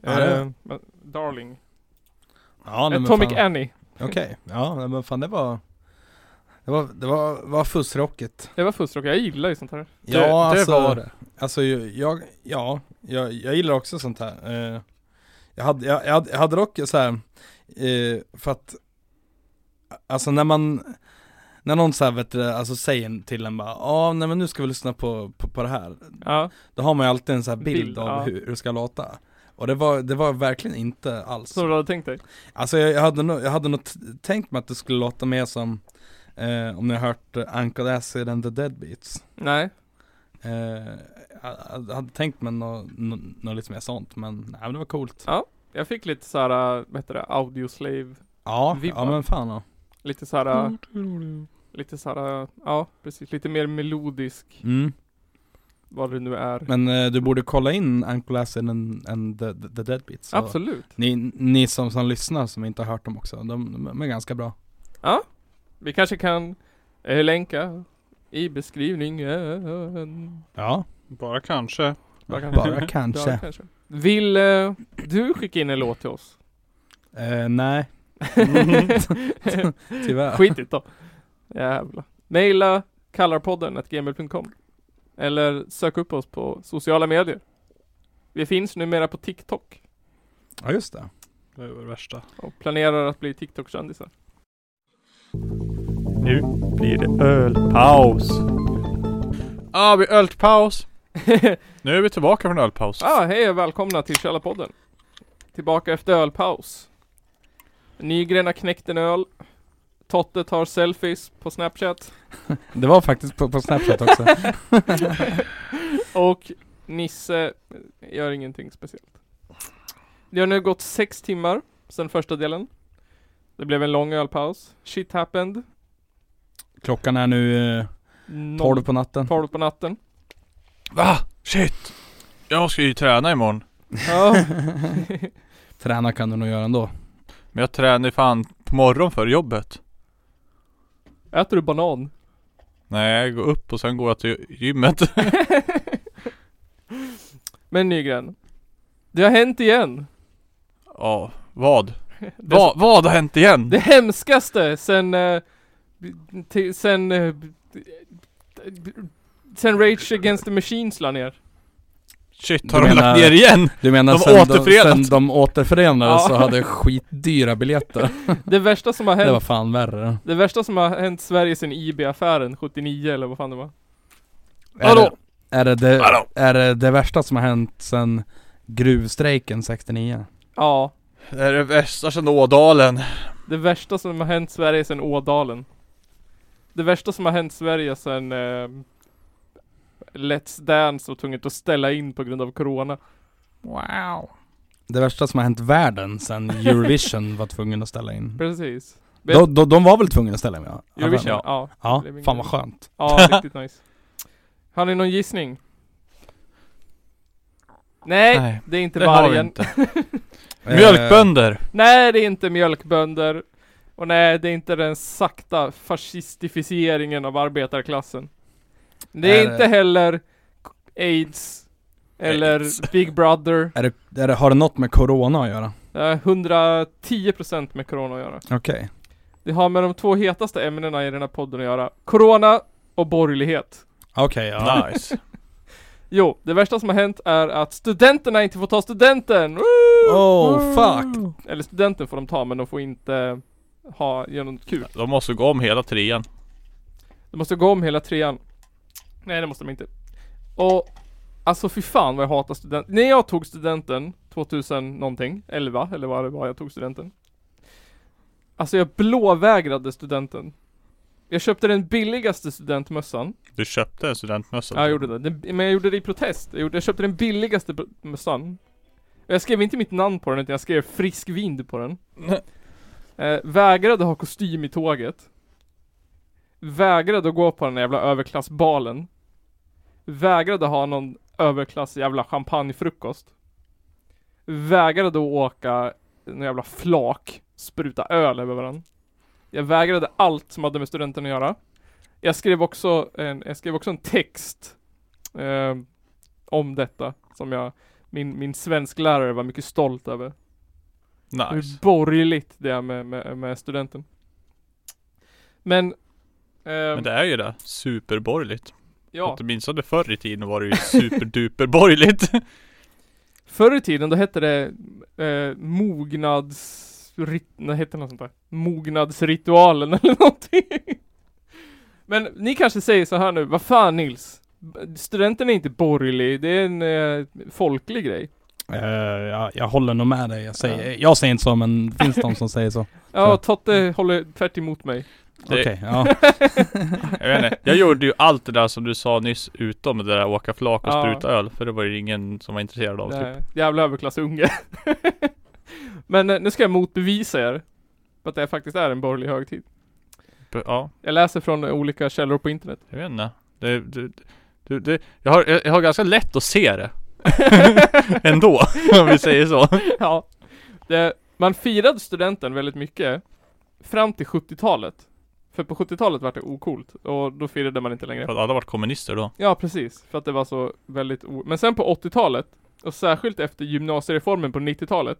Speaker 1: Ja, det
Speaker 3: eh, Darling
Speaker 1: Ja, nej, men
Speaker 3: Atomic
Speaker 1: fan.
Speaker 3: Annie
Speaker 1: Okej, ja nej, men fan det var Det var, det var, var fussrocket
Speaker 3: Det var fuskrock, jag gillar ju sånt här
Speaker 1: Ja
Speaker 2: det
Speaker 1: alltså,
Speaker 2: var
Speaker 1: det Alltså ju- jag, ja, jag, jag gillar också sånt här Eh, Jag hade, jag, jag hade- jag hade dock så här eh, För att Alltså när man När någon så här, vet du, alltså säger till en bara Ja nej men nu ska vi lyssna på, på, på det här
Speaker 3: Ja,
Speaker 1: Då har man ju alltid en så här bild,
Speaker 3: Bild,
Speaker 1: av
Speaker 3: ja.
Speaker 1: hur, hur det ska låta Och det var, det var verkligen inte alls
Speaker 3: som du hade tänkt dig?
Speaker 1: Alltså jag, jag hade nog, jag hade nog t- tänkt mig att det skulle låta mer som eh, Om ni har hört eh, Uncle Acid and the Deadbeats
Speaker 3: Nej
Speaker 1: eh, jag, jag hade tänkt mig något nå, nå lite mer sånt men, nej men det var coolt
Speaker 3: Ja. Jag fick lite såhär, vad heter det, audioslave
Speaker 1: Ja,
Speaker 3: Vibbar.
Speaker 1: ja men fan ja.
Speaker 3: Lite såhär, lite såhär, ja precis, lite mer melodisk
Speaker 1: mm.
Speaker 3: Vad det nu är
Speaker 1: Men eh, du borde kolla in Uncle Acid and, and the, the, the Deadbeats Och
Speaker 3: Absolut
Speaker 1: Ni, ni som, som lyssnar som inte har hört dem också, de, de är ganska bra
Speaker 3: Vi kanske kan eh, länka i beskrivningen
Speaker 1: Ja,
Speaker 2: Bara kanske.
Speaker 3: Bara kanske. äh,
Speaker 1: bara
Speaker 3: Ja,
Speaker 1: kanske
Speaker 3: kanske. Vill eh, du skicka in en låt till oss?
Speaker 1: Eh, nej, tyvärr.
Speaker 3: Skit i det då. Jävlar. Maila kallarpodden gmail.com Eller sök upp oss på sociala medier. Vi finns numera på TikTok
Speaker 1: Ja just det.
Speaker 2: Det är det värsta.
Speaker 3: och planerar att bli TikTok-kändisar.
Speaker 2: Nu blir det ölpaus. Ah, vi har ölpaus. Nu är vi tillbaka från ölpaus.
Speaker 3: ah, hej och välkomna till Källarpodden. Tillbaka efter ölpaus. Nygren har knäckt en öl. Totte tar selfies på Snapchat.
Speaker 1: Det var faktiskt på, på Snapchat också.
Speaker 3: Och Nisse gör ingenting speciellt. Det har nu gått sex timmar sedan första delen. Det blev en lång ölpaus. Shit happened.
Speaker 1: Klockan är nu eh,
Speaker 3: Noll-
Speaker 1: 12 på natten.
Speaker 3: tolv på natten.
Speaker 2: Va? Shit! Jag ska ju träna imorgon.
Speaker 3: Ja.
Speaker 1: Träna kan du nog göra ändå.
Speaker 2: Men jag tränar ju fan på morgonen för jobbet.
Speaker 3: Äter du banan?
Speaker 2: Nej, jag går upp och sen går jag till gymmet.
Speaker 3: Men Nygren. Det har hänt igen.
Speaker 2: Ja, vad?
Speaker 3: Det,
Speaker 2: Va, vad har hänt igen?
Speaker 3: det hemskaste sen... eh, b- till- sen... eh, b- b- Sen Rage Against the Machines la ner.
Speaker 2: Shit,
Speaker 1: Du
Speaker 2: har de
Speaker 1: menar-
Speaker 2: lagt ner igen?
Speaker 1: Du menar
Speaker 2: De
Speaker 1: sen, de,
Speaker 2: återförenades.
Speaker 1: sen de återförenades
Speaker 3: Ja.
Speaker 1: så hade jag skitdyra biljetter.
Speaker 3: Det värsta som har hänt
Speaker 1: Det var fan värre.
Speaker 3: Det värsta som har hänt Sverige sedan IB-affären 79 eller vad fan det var.
Speaker 1: Är det,
Speaker 2: Hallå?
Speaker 1: är, det det,
Speaker 2: Hallå?
Speaker 1: är det det värsta som har hänt sen gruvstrejken 69?
Speaker 3: Ja,
Speaker 2: Det är det värsta sedan Ådalen.
Speaker 3: det värsta som har hänt Sverige sedan Ådalen. Det värsta som har hänt Sverige sedan eh, Let's Dance var tvunget att ställa in på grund av Corona.
Speaker 2: Wow.
Speaker 1: Det värsta som har hänt världen sen Eurovision var tvungen att ställa in.
Speaker 3: Precis.
Speaker 1: De, de, de var väl tvungna att ställa in? Ja,
Speaker 3: Eurovision,
Speaker 2: Ja.
Speaker 3: ja.
Speaker 1: Ja,
Speaker 3: Det är min
Speaker 1: fan
Speaker 3: grej.
Speaker 1: vad skönt.
Speaker 3: Ja, riktigt nice. Har ni någon gissning? Nej,
Speaker 2: Nej,
Speaker 3: det är inte
Speaker 2: Det har vi
Speaker 3: vargen. Eh,
Speaker 2: inte.
Speaker 1: Eh,
Speaker 2: Mjölkbönder.
Speaker 3: Nej, det är inte mjölkbönder. Och nej, det är inte den sakta fascistificeringen av arbetarklassen. Det är
Speaker 1: Är-
Speaker 3: inte heller aids. Eller
Speaker 2: AIDS.
Speaker 3: Big Brother.
Speaker 1: Eh, är det, är det, har det något med Corona att göra?
Speaker 3: Det har 110% med corona att göra.
Speaker 1: Okej.
Speaker 3: Det har med de två hetaste ämnena i den här podden att göra. Corona och borgerlighet.
Speaker 1: Okej, ja.
Speaker 2: Nice.
Speaker 3: Jo, det värsta som har hänt är att studenterna inte får ta studenten! Woo!
Speaker 1: Oh fuck!
Speaker 3: Eller studenten får de ta, men de får inte ha genom kuk.
Speaker 2: De måste gå om hela trean.
Speaker 3: De måste gå om hela trean. Nej det måste de inte. Och alltså fy fan vad jag hatar studenten. När jag tog studenten 2000 någonting, 11 eller vad det var jag tog studenten. Alltså jag blåvägrade studenten. Jag köpte den billigaste studentmössan.
Speaker 2: Du köpte en studentmössa?
Speaker 3: Ja, jag gjorde det. Den, men jag gjorde det i protest. Jag, gjorde, jag köpte den billigaste b- mössan. Och Jag skrev inte mitt namn på den utan jag skrev frisk vind på den. Eh, vägrade ha kostym i tåget. Vägrade att gå på den där jävla överklassbalen. Vägrade ha någon överklass jävla champagnefrukost. Vägrade att åka någon jävla flak, spruta öl över varandra. Jag vägrade allt som hade med studenten att göra. Jag skrev också en, jag skrev också en text eh, om detta som jag, min, min svensklärare var mycket stolt över.
Speaker 2: Nice.
Speaker 3: Hur borgerligt det är med, med, med studenten. Men, ehm,
Speaker 2: Men det är ju det. Superborgerligt.
Speaker 3: ja,
Speaker 2: Åtminstone förr i tiden var det ju superduperborgerligt.
Speaker 3: förr i tiden då hette det eh, mognads... Rit, nej, hette det något sånt där? Mognadsritualen eller någonting. Men ni kanske säger så här nu, vad fan Nils? B- Studenten är inte borgerlig, det är en eh, folklig grej.
Speaker 1: Eh, jag, jag håller nog med dig. Jag säger, jag säger inte så men finns de som säger så?
Speaker 3: Ja,
Speaker 1: Så.
Speaker 3: Totte håller tvärt emot mig.
Speaker 1: Okej,
Speaker 2: Det-
Speaker 1: ja.
Speaker 2: Jag vet inte. Jag gjorde ju allt det där som du sa nyss utom det där åka flak och
Speaker 3: Ja.
Speaker 2: spruta öl. För det var ju ingen som var intresserad av typ.
Speaker 3: Nej, Eh, jävla överklassunge. Men eh, nu ska jag motbevisa er. På att det faktiskt är en borgerlig högtid.
Speaker 2: typ. Ja,
Speaker 3: Jag läser från eh, olika källor på internet.
Speaker 2: jag vet inte. Det, det, det, det, jag, har, jag har ganska lätt att se det. Ändå, om vi säger så.
Speaker 3: ja. Det, man firade studenten väldigt mycket fram till 70-talet. För på 70-talet var det ocoolt och då firade man inte längre.
Speaker 2: För att alla varit kommunister då.
Speaker 3: Ja, precis. För att det var så väldigt o... Men sen på 80-talet, och särskilt efter gymnasiereformen på 90-talet,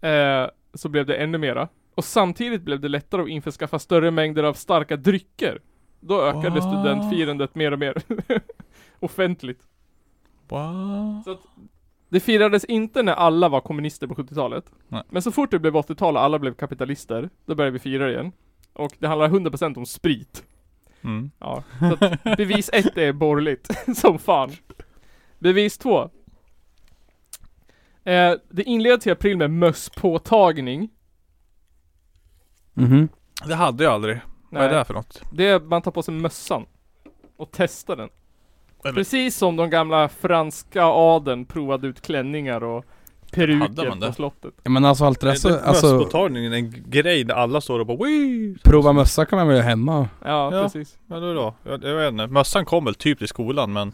Speaker 3: eh, så blev det ännu mera. Och samtidigt blev det lättare att införskaffa större mängder av starka drycker. Då ökade
Speaker 2: Wow.
Speaker 3: studentfirandet mer och mer. Offentligt.
Speaker 2: Wow.
Speaker 3: Så att det firades inte när alla var kommunister på 70-talet.
Speaker 2: Nej.
Speaker 3: Men så fort det blev 80-tal och alla blev kapitalister, då började vi fira igen. Och det handlar 100% om sprit.
Speaker 2: Mm.
Speaker 3: Ja, så att bevis ett är borgerligt som fan. Bevis två. Eh, det inleds i april med mösspåtagning.
Speaker 1: Mhm.
Speaker 2: Det hade jag aldrig. Vad är det här för något?
Speaker 3: det är man tar på sig mössan och testar den.
Speaker 2: Eller-
Speaker 3: Precis som de gamla franska adeln provade ut klänningar och
Speaker 2: Hade
Speaker 3: peruker
Speaker 2: man det?
Speaker 3: på slottet.
Speaker 1: Ja, men alltså allt det där
Speaker 2: Alltså,
Speaker 1: så,
Speaker 2: är alltså...
Speaker 1: alltså
Speaker 2: mösspåtagningen en grej där alla står och bara Wii!
Speaker 1: prova mössa kan man väl göra hemma?
Speaker 3: Ja,
Speaker 2: Ja.
Speaker 3: precis.
Speaker 2: Ja, då, då. Jag, jag vet inte. Mössan kom väl typ i skolan men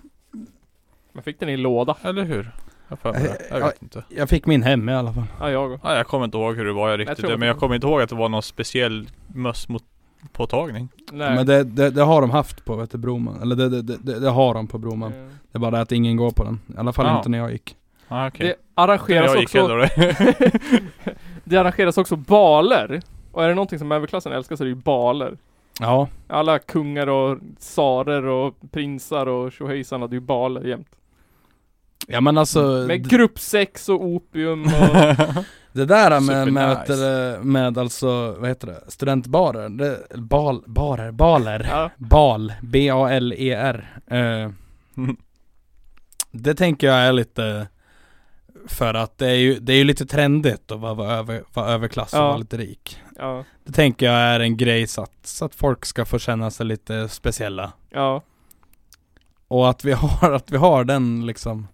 Speaker 3: Man fick den i en låda.
Speaker 2: Eller hur? Jag, för mig det. jag
Speaker 1: Ja.
Speaker 2: vet inte.
Speaker 1: Jag fick min hem i alla fall.
Speaker 3: Ja, jag och.
Speaker 2: Nej, jag kommer inte ihåg hur det var jag riktigt.
Speaker 3: tror att
Speaker 2: men
Speaker 3: det-
Speaker 2: jag kommer inte ihåg att det var någon speciell möss mot påtagning.
Speaker 3: Nej.
Speaker 1: Men det, det, det har de haft på vet du, Broman. Eller det, det, det, det har de på Broman.
Speaker 3: Eh,
Speaker 1: Det är bara det att ingen går på den. I alla fall
Speaker 2: Ja.
Speaker 1: inte när jag gick.
Speaker 2: Ah, okej.
Speaker 3: Det
Speaker 2: Det alltså-
Speaker 3: arrangeras
Speaker 2: jag gick
Speaker 3: också,
Speaker 2: heller det.
Speaker 3: det arrangeras också baler. Och är det någonting som överklassen älskar så är det ju baler.
Speaker 1: Ja.
Speaker 3: Alla kungar och tsarer och prinsar och tjohejsan hade ju baler jämt.
Speaker 1: Ja men alltså
Speaker 3: Med gruppsex och opium och...
Speaker 1: det där med, med,
Speaker 2: Supernice.
Speaker 1: vet du det, med alltså, vad heter det, studentbarer, det, bal, barer, baler,
Speaker 3: ja.
Speaker 1: bal, B-A-L-E-R. E Eh, det tänker jag är lite för att det är ju, det är ju lite trendigt att vara, vara, över, vara överklass och
Speaker 3: Ja.
Speaker 1: vara lite rik.
Speaker 3: Ja.
Speaker 1: Det tänker jag är en grej så att, så att folk ska få känna sig lite speciella.
Speaker 3: Ja.
Speaker 1: Och att vi har, att vi har den liksom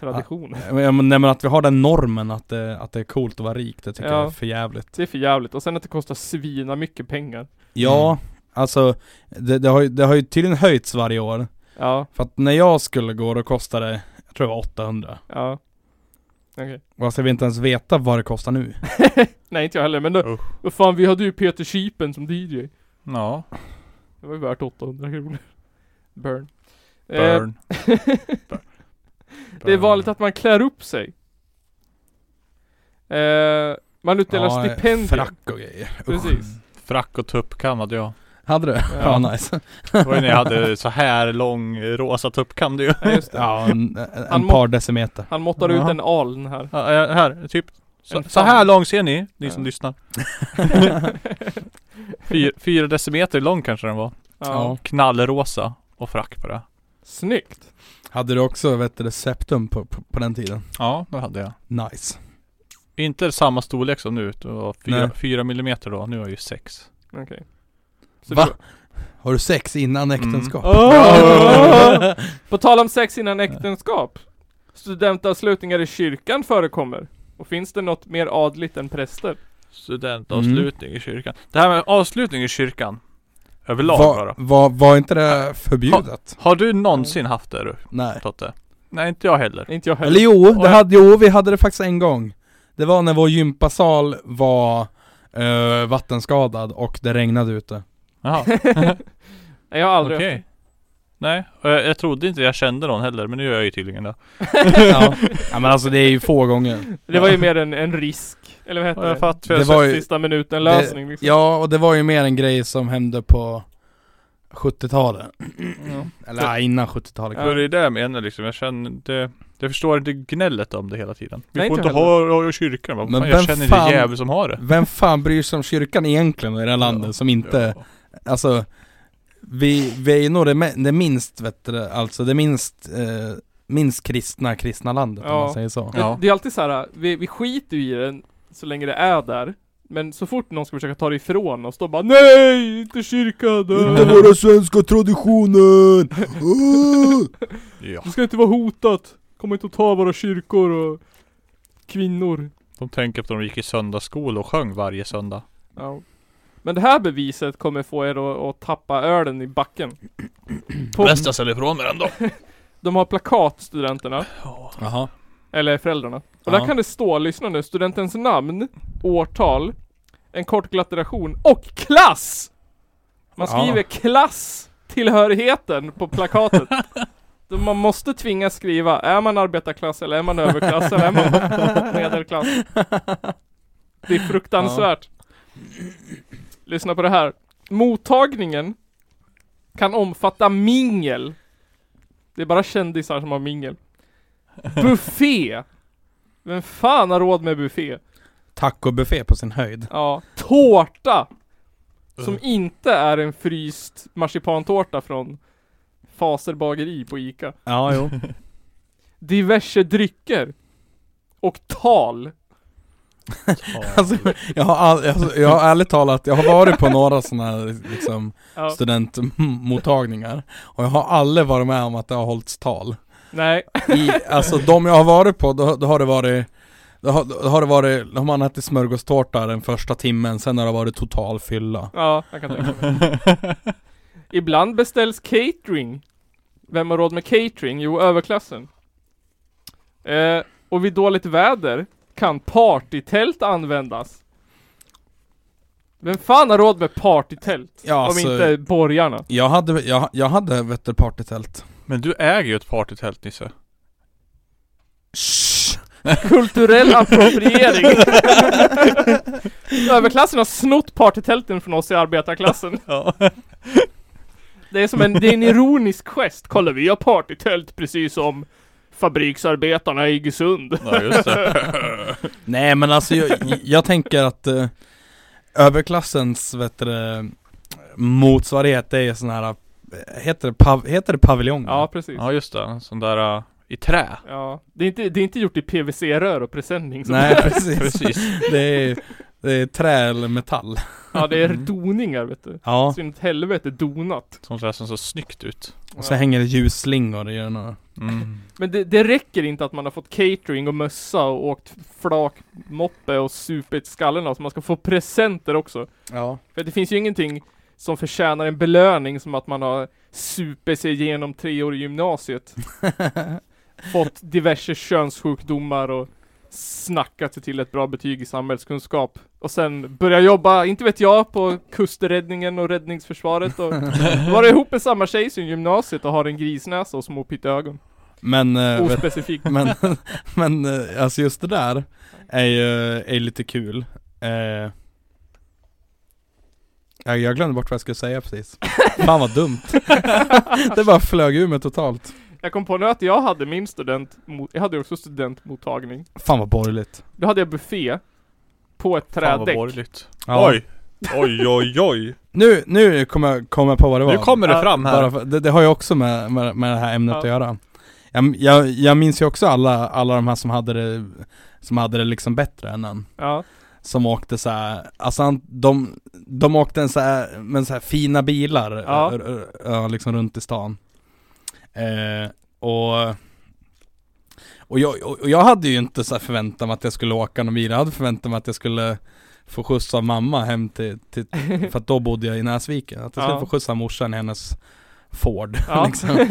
Speaker 3: Tradition.
Speaker 1: Ja, men- Nej men att vi har den normen att det, att det är coolt att vara rik, det tycker
Speaker 3: Ja.
Speaker 1: jag är för jävligt.
Speaker 3: Det är för jävligt. Och sen att det kostar svina mycket pengar.
Speaker 1: Ja, alltså det, det, har ju, det har ju tydligen höjts varje år.
Speaker 3: Ja.
Speaker 1: För att när jag skulle gå då kostade det, jag tror det var 800.
Speaker 3: Ja. Okej.
Speaker 1: Och alltså jag vill inte ens veta vad det kostar nu.
Speaker 3: Nej, inte jag heller. Men då...
Speaker 2: Usch.
Speaker 3: Vad fan, vi hade ju Peter Kypen som DJ.
Speaker 2: ja,
Speaker 3: Det var ju värt 800 kronor. Burn. Eh,
Speaker 2: burn.
Speaker 3: Det är vanligt att man klär upp sig. Eh, man utdelar
Speaker 1: Ja,
Speaker 3: stipendier.
Speaker 1: Frack och grejer. Usch.
Speaker 3: Precis.
Speaker 2: Frack och tuppkam hade jag.
Speaker 1: Hade du? Ja,
Speaker 3: Ja.
Speaker 1: nice.
Speaker 2: Det var ju när jag hade så här lång eh, rosa tuppkam du.
Speaker 3: Ja, just det.
Speaker 1: Ja, en,
Speaker 3: Han
Speaker 1: en
Speaker 3: må-
Speaker 1: par decimeter.
Speaker 3: Han måttar ut
Speaker 2: Ja.
Speaker 3: en aln här.
Speaker 2: Ja, eh, här, typ. Så,
Speaker 3: En
Speaker 2: så här lång ser ni, ni
Speaker 3: Ja.
Speaker 2: som lyssnar. Fyra, fyra decimeter lång kanske den var.
Speaker 1: Ja.
Speaker 2: Knallrosa och frack på det.
Speaker 3: Snyggt.
Speaker 1: Hade du också, vet du det, septum på, på, på den tiden?
Speaker 2: Ja, det hade jag.
Speaker 1: Nice.
Speaker 2: Inte samma storlek som nu, det var
Speaker 1: Nej.
Speaker 2: fyra, fyra millimeter då, nu är jag ju sex.
Speaker 3: Okej. Så
Speaker 1: Va?
Speaker 3: det-
Speaker 1: Har du sex innan
Speaker 2: Mm.
Speaker 1: äktenskap?
Speaker 3: Åh! På tal om sex innan äktenskap. Studentavslutningar i kyrkan förekommer. Och finns det något mer adligt än präster?
Speaker 2: Studentavslutning i kyrkan. Det här med avslutning i kyrkan. Överlag
Speaker 1: Var,
Speaker 2: bara.
Speaker 1: var, var inte det förbjudet?
Speaker 2: Har du någonsin haft det du,
Speaker 1: Nej.
Speaker 2: Totte? Nej, inte jag heller.
Speaker 3: Inte jag heller.
Speaker 1: Eller jo, det
Speaker 2: jag-
Speaker 1: hade, jo, vi hade det faktiskt en gång. Det var när vår gympasal var eh, vattenskadad och det regnade ute.
Speaker 2: Jaha,
Speaker 3: Nej, jag har aldrig
Speaker 2: okej.
Speaker 3: haft
Speaker 2: Nej, och jag, jag trodde inte jag kände någon heller, men nu gör jag ju tydligen det.
Speaker 1: ja. ja men alltså det är ju få gånger.
Speaker 3: det. Det var ju mer en, en risk. Eller vad heter
Speaker 2: Ja,
Speaker 3: det?
Speaker 2: Jag fatt, för
Speaker 1: Det
Speaker 2: jag
Speaker 1: var ju-
Speaker 3: Sista minuten lösning liksom.
Speaker 1: Ja, och det var ju mer en grej som hände på 70-talet.
Speaker 3: Ja.
Speaker 1: Eller nej, innan 70-talet.
Speaker 2: För det är det jag menar liksom, jag känner det Jag förstår inte gnället om det hela tiden Vi
Speaker 3: Nej,
Speaker 2: får
Speaker 3: inte
Speaker 2: inte ha, ha i kyrkan, men
Speaker 1: Men
Speaker 2: fan, jag
Speaker 1: vem
Speaker 2: känner inte
Speaker 1: fan-
Speaker 2: jävel som har det
Speaker 1: Vem fan bryr sig om kyrkan egentligen i det här landet
Speaker 2: Ja.
Speaker 1: som inte,
Speaker 2: Ja.
Speaker 1: alltså vi, vi är ju nog det, me- det minst, vet du, det, alltså det minst, eh, minst kristna, kristna landet om
Speaker 3: Ja.
Speaker 1: man säger så.
Speaker 3: Det,
Speaker 2: Ja.
Speaker 3: det är alltid så här. Vi, vi skiter ju i den så länge det är där. Men så fort någon ska försöka ta det ifrån oss, då bara NEJ! Inte kyrkan!
Speaker 1: Inte
Speaker 3: äh.
Speaker 1: våra svenska traditioner! Åh!
Speaker 2: ja,
Speaker 3: Det ska inte vara hotat! Kom inte och ta våra kyrkor och kvinnor.
Speaker 2: de tänker på att de gick i söndagsskola och sjöng varje söndag
Speaker 3: Ja. Men det här beviset kommer få er att, att tappa ölen i backen. På,
Speaker 2: Bäst jag säljer ifrån mig den då
Speaker 3: de har plakat, studenterna.
Speaker 1: Jaha.
Speaker 3: Eller föräldrarna. Och
Speaker 1: Ja.
Speaker 3: där kan det stå, lyssna nu, studentens namn, årtal, en kort glatulation och klass! Man
Speaker 1: Ja.
Speaker 3: skriver klass tillhörigheten på plakatet. Då man måste tvingas skriva, är man arbetarklass eller är man överklass eller är man medelklass? Det är fruktansvärt. Lyssna på det här. Mottagningen kan omfatta mingel. Det är bara kändisar som har mingel. Buffé. Vem fan har råd med buffé?
Speaker 1: Tacobuffé på sin höjd.
Speaker 3: Ja. Tårta!
Speaker 2: Mm.
Speaker 3: Som inte är en fryst marsipantårta från Faser bageri på Ica.
Speaker 1: Ja, jo.
Speaker 3: Diverse drycker. Och tal.
Speaker 1: Alltså, jag har, all, alltså, jag har ärligt talat, jag har varit på några sådana här liksom,
Speaker 3: Ja.
Speaker 1: studentmottagningar och jag har aldrig varit med om att det har hållits tal.
Speaker 3: Nej.
Speaker 1: I, alltså de jag har varit på, då, då har det varit då har, då har det varit, då har man ätit smörgåstårta den första timmen, sen har det varit total fylla.
Speaker 3: Ja, jag kan tänka mig. Ibland beställs catering. Vem har råd med catering? Jo, överklassen. Eh, och vid dåligt väder kan partytält användas. Vem fan har råd med partytält?
Speaker 1: Ja, alltså,
Speaker 3: Om inte borgarna.
Speaker 1: jag hade, jag, jag hade vet du, partytält.
Speaker 2: Men du äger ju ett partytält Nisse.
Speaker 1: Shh.
Speaker 3: Kulturell appropriering. överklassen har snott partytälten från oss i arbetarklassen.
Speaker 2: Ja.
Speaker 3: Det är som en, det är en ironisk gest. Kolla, vi har partytält precis som fabriksarbetarna i Iggesund.
Speaker 1: Mm.
Speaker 2: Ja just det.
Speaker 1: Nej men alltså jag, jag tänker att eh, överklassens vet du, det, motsvarighet det är sån här, eh, heter det, pav, heter det paviljonger?
Speaker 3: Ja, precis. Ja.
Speaker 2: Ja just det, en sån där äh, i trä.
Speaker 3: Det, är inte, det är inte gjort i PVC-rör och presenning. som-
Speaker 1: Nej precis.
Speaker 2: Precis.
Speaker 1: det, är, det är trä eller metall.
Speaker 3: Ja, det är
Speaker 2: Mm.
Speaker 3: doningar vet du.
Speaker 1: Ja,
Speaker 3: Så in ett helvete donat.
Speaker 2: Som ser som så snyggt ut.
Speaker 1: och så hänger det ljusslingor i den och
Speaker 2: Mm.
Speaker 3: Men det, det räcker inte att man har fått catering och mössa och åkt flakmoppe och supit skallen av sig. Man ska få presenter också.
Speaker 1: Ja.
Speaker 3: För det finns ju ingenting som förtjänar en belöning som att man har supit sig igenom tre år i gymnasiet. fått diverse könssjukdomar och snackat sig till ett bra betyg i samhällskunskap. Och sen börja jobba, inte vet jag, på kusträddningen och räddningsförsvaret och vara ihop med samma tjej sen gymnasiet och har en grisnäsa och små pytteögon.
Speaker 1: Men, eh, vet,
Speaker 3: Ospecifikt.
Speaker 1: men, men eh, alltså just det där är ju är lite kul. Eh, jag, jag glömde bort vad jag skulle säga precis. Fan vad dumt. det bara flög ur mig totalt.
Speaker 3: Jag kom på nu att jag hade min student, jag hade också studentmottagning.
Speaker 1: Fan vad borgerligt.
Speaker 3: Då hade jag buffé på ett
Speaker 2: Fan vad
Speaker 3: trädäck.
Speaker 2: borgerligt.
Speaker 1: Ja.
Speaker 2: Oj! Oj oj oj!
Speaker 1: Nu, nu kommer jag komma på vad det var.
Speaker 2: Nu kommer det
Speaker 3: Ja,
Speaker 2: fram här.
Speaker 1: Bara för, det, det har ju också med, med, med det här ämnet
Speaker 3: Ja.
Speaker 1: att göra. Jag, jag, jag minns ju också alla, alla de här som hade det, som hade det liksom bättre än en.
Speaker 3: Ja.
Speaker 1: Som åkte så här, alltså han, de, de åkte en så här, med så här fina bilar,
Speaker 3: Ja.
Speaker 1: ö- ö- ö, liksom runt i stan. Eh, och och jag, och och jag hade ju inte så här förväntat mig att jag skulle åka någon bil, jag hade förväntat mig att jag skulle få skjuts av mamma hem till, till för att då bodde jag i Näsviken, att jag skulle
Speaker 3: Ja.
Speaker 1: få skjuts av morsan i hennes Ford
Speaker 3: Ja.
Speaker 1: liksom.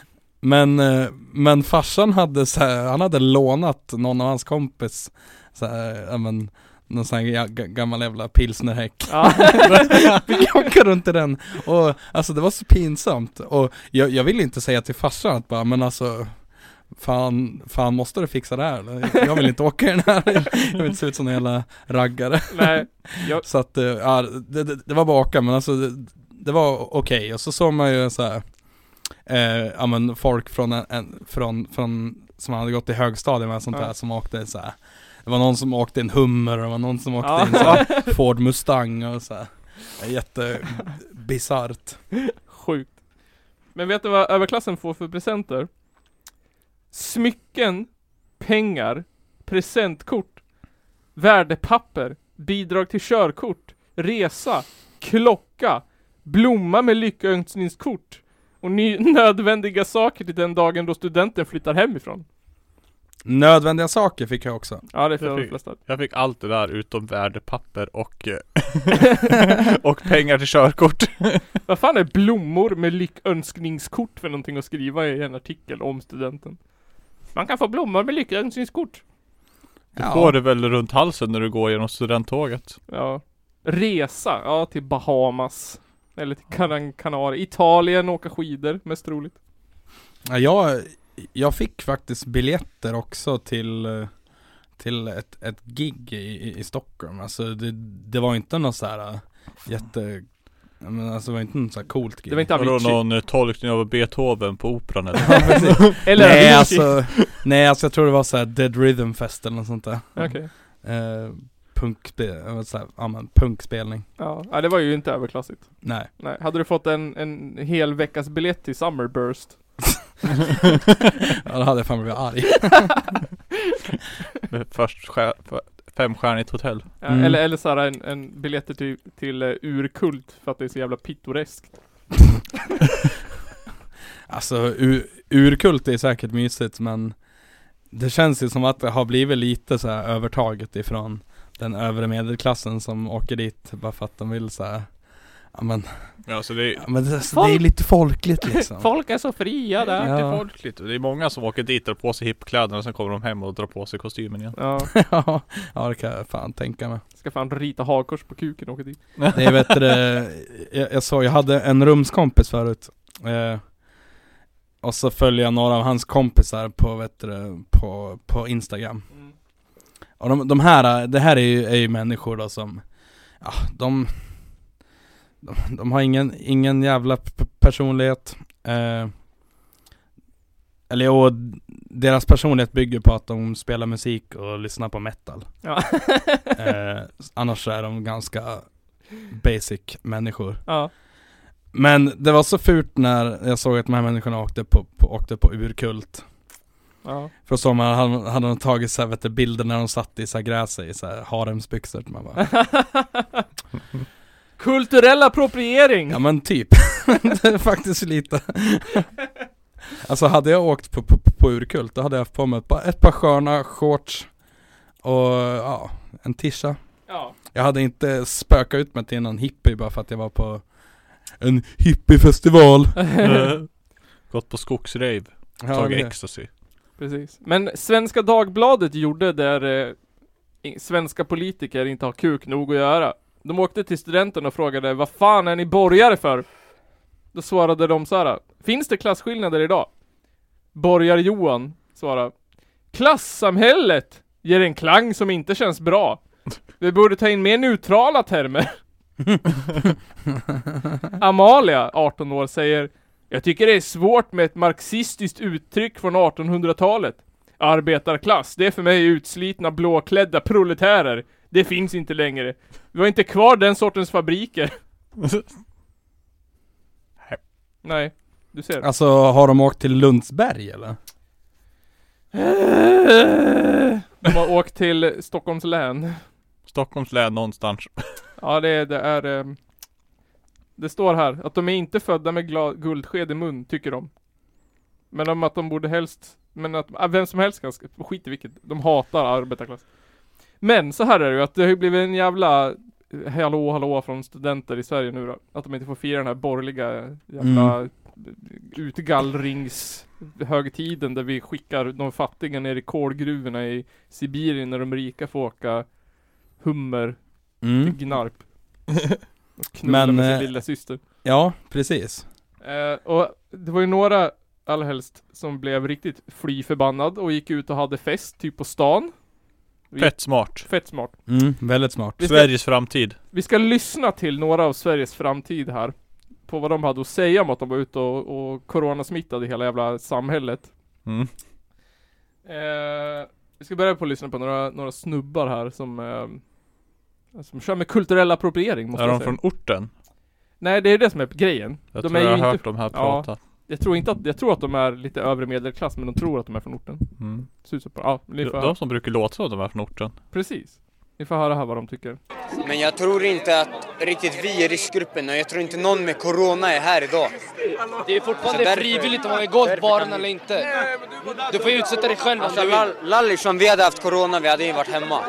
Speaker 1: Men, eh, men farsan hade så här, han hade lånat någon av hans kompis så här, ja, men, någon sån här ga- ga- gammal jävla pilsnerhäck
Speaker 3: ja.
Speaker 1: Vi åker runt i den och alltså det var så pinsamt och jag, jag ville inte säga till farsan att bara men alltså Fan, fan måste du fixa det här eller? Jag vill inte åka i den här, jag vill inte se ut som en jävla raggare
Speaker 3: Nej.
Speaker 1: så att, eh, ja, det, det, det var bara att åka men alltså det, det var okej och så såg man ju så här, eh, ja men folk från, en- en, från, från, som hade gått i högstadiet med sånt
Speaker 3: Ja.
Speaker 1: där som åkte så här. Det var någon som åkte en Hummer och det var någon som åkte
Speaker 3: Ja.
Speaker 1: en så här, Ford Mustang och så här. Jättebisarrt.
Speaker 3: Sjukt. Men vet du vad överklassen får för presenter? Smycken, pengar, presentkort, värdepapper, bidrag till körkort, resa, klocka, blomma med lyckönskningskort och ny- nödvändiga saker till den dagen då studenten flyttar hemifrån.
Speaker 1: Nödvändiga saker fick jag också.
Speaker 3: Ja, det är för
Speaker 2: Jag
Speaker 3: de
Speaker 2: fick-
Speaker 3: flesta.
Speaker 2: Jag fick allt det där utom värdepapper och, eh, och pengar till körkort.
Speaker 3: Vad fan är blommor med lyckönskningskort för någonting att skriva i en artikel om studenten? Man kan få blommor med lyckönskningskort.
Speaker 2: Du
Speaker 1: Ja.
Speaker 2: får det väl runt halsen när du går genom studenttåget.
Speaker 3: Ja. Resa, ja till Bahamas. Eller till Kanan Kanarien. Italien, åka skidor mest troligt.
Speaker 1: Ja, jag, jag fick faktiskt biljetter också till, eh, till ett, ett gig i, i, i Stockholm. Alltså det, det var inte något så här äh, jätte, ja, men alltså det var inte något så här coolt gig.
Speaker 3: Det var inte
Speaker 2: Vadå
Speaker 3: Avicii.
Speaker 2: någon eh, tolkning av Beethoven på operan eller?
Speaker 1: Ja, precis.
Speaker 3: Eller
Speaker 1: nej,
Speaker 3: Avicii.
Speaker 1: alltså, nej alltså jag tror det var så här Dead Rhythm Fest eller något sånt där.
Speaker 3: Okej.
Speaker 1: Eh, punkspel, jag vet så här, ja men punkspelning.
Speaker 3: Ja. ja, det var ju inte överklassigt.
Speaker 1: Nej.
Speaker 3: Nej, hade du fått en, en hel veckas biljett till Summerburst?
Speaker 1: ja, då hade jag fan blivit arg.
Speaker 2: Först stjär- femstjärnigt hotell.
Speaker 3: Ja,
Speaker 1: Mm.
Speaker 3: Eller, eller såhär en, en biljetter till, till eh, urkult för att det är så jävla pittoreskt.
Speaker 1: Alltså ur, urkult är säkert mysigt men det känns ju som att det har blivit lite så här övertaget ifrån den övre medelklassen som åker dit bara för att de vill så här. Ja men,
Speaker 2: Ja så det är
Speaker 1: ja, men det, alltså, det är ju lite folkligt liksom.
Speaker 3: Folk är så fria
Speaker 2: det är
Speaker 3: där!
Speaker 1: Ja.
Speaker 2: lite folkligt. Det är många som åker dit, drar på sig hippkläderna och sen kommer de hem och drar på sig kostymen igen.
Speaker 3: Ja,
Speaker 1: ja, ja det kan jag fan tänka mig.
Speaker 3: ska fan rita hakkors på kuken och åka dit.
Speaker 1: Det är bättre, jag, jag såg, jag hade en rumskompis förut eh, Och så följde jag några av hans kompisar på, vet du, på, på Instagram Och de, de här, det här är ju, är ju människor då som, ja de De, de har ingen, ingen jävla p- personlighet eh, Eller och deras personlighet bygger på att de spelar musik och lyssnar på metal
Speaker 3: Ja.
Speaker 1: eh, Annars så är de ganska basic människor
Speaker 3: ja.
Speaker 1: Men det var så fult när jag såg att de här människorna åkte på, på, åkte på urkult
Speaker 3: Ja.
Speaker 1: för så man hade, hade de tagit så här, vet du, bilder när de satt i så här gräset i så här haremsbyxor man bara,
Speaker 3: Kulturell appropriering!
Speaker 1: Ja men typ, det är faktiskt lite Alltså hade jag åkt på, på, på urkult då hade jag haft på mig ett par, ett par sköna shorts och ja, en tisha
Speaker 3: Ja.
Speaker 1: Jag hade inte spökat ut mig till någon hippie bara för att jag var på en hippiefestival
Speaker 2: Eh, Gått på skogsrave,
Speaker 1: Ja,
Speaker 2: tagit
Speaker 1: det-
Speaker 2: ecstasy.
Speaker 3: Precis. Men Svenska Dagbladet gjorde där eh, i- svenska politiker inte har kuk nog att göra. De åkte till studenten och frågade vad fan är ni borgare för? Då svarade de så här. Finns det klasskillnader idag? Borgar-Johan svarade. Klassamhället ger en klang som inte känns bra. Vi borde ta in mer neutrala termer. Amalia, 18 år, säger jag tycker det är svårt med ett marxistiskt uttryck från 1800-talet. Arbetarklass, det är för mig utslitna blåklädda proletärer. Det finns inte längre. Vi har inte kvar den sortens fabriker. Nej, du ser.
Speaker 1: Alltså har de åkt till Lundsberg eller?
Speaker 3: De har åkt till Stockholms län.
Speaker 2: Stockholms län någonstans.
Speaker 3: Ja, det, det är... ehm, Det står här att de är inte födda med gla- guldsked i mun, tycker de. Men om att de borde helst, men att ah, vem som helst kan, sk- skit i vilket, de hatar arbetarklass. Men så här är det ju att det har ju blivit en jävla eh, hallå hallå från studenter i Sverige nu då. Att de inte får fira den här borgerliga eh, jävla utgallringshögtiden där vi skickar de fattiga ner i kolgruvorna i Sibirien när de rika får åka hummer
Speaker 1: Mm.
Speaker 3: till Gnarp. Och knulla
Speaker 1: Men,
Speaker 3: med
Speaker 1: eh,
Speaker 3: sin lilla syster.
Speaker 1: Ja, precis
Speaker 3: Eh, och det var ju några allhelst som blev riktigt fly förbannad och gick ut och hade fest, typ på stan.
Speaker 2: Fett smart.
Speaker 3: Fett smart.
Speaker 1: mm, väldigt smart
Speaker 3: Vi ska-
Speaker 2: Sveriges framtid.
Speaker 3: Vi ska lyssna till några av Sveriges framtid här. På vad de hade att säga om att de var ute och, och coronasmittade hela jävla samhället.
Speaker 2: Mm.
Speaker 3: Eh, vi ska börja på att lyssna på några, några snubbar här som eh, som kör med kulturell appropriering måste
Speaker 2: Är
Speaker 3: jag
Speaker 2: de
Speaker 3: säga.
Speaker 2: från orten?
Speaker 3: Nej det är det som är grejen.
Speaker 2: Jag
Speaker 3: De
Speaker 2: tror
Speaker 3: är
Speaker 2: jag
Speaker 3: ju
Speaker 2: har hört
Speaker 3: inte-
Speaker 2: de här
Speaker 3: Ja.
Speaker 2: prata.
Speaker 3: Jag tror inte att, jag tror att de är lite övre medelklass men de tror att de är från orten.
Speaker 2: Mm.
Speaker 3: Ser ut så på, ja, ni
Speaker 2: De,
Speaker 3: får
Speaker 2: de som brukar låta som att de är från orten.
Speaker 3: precis. Ni får höra här vad de tycker.
Speaker 6: Men jag tror inte att riktigt vi är riskgruppen och jag tror inte någon med corona är här idag.
Speaker 7: Det är fortfarande
Speaker 6: Så därför-
Speaker 7: frivilligt om man vill gå
Speaker 6: därför
Speaker 7: till
Speaker 6: kan
Speaker 7: baren
Speaker 6: vi-
Speaker 7: eller inte. Du får utsätta dig själv om
Speaker 6: Alltså
Speaker 7: du vill.
Speaker 6: lall- lallish, om vi hade haft corona vi hade ju varit hemma.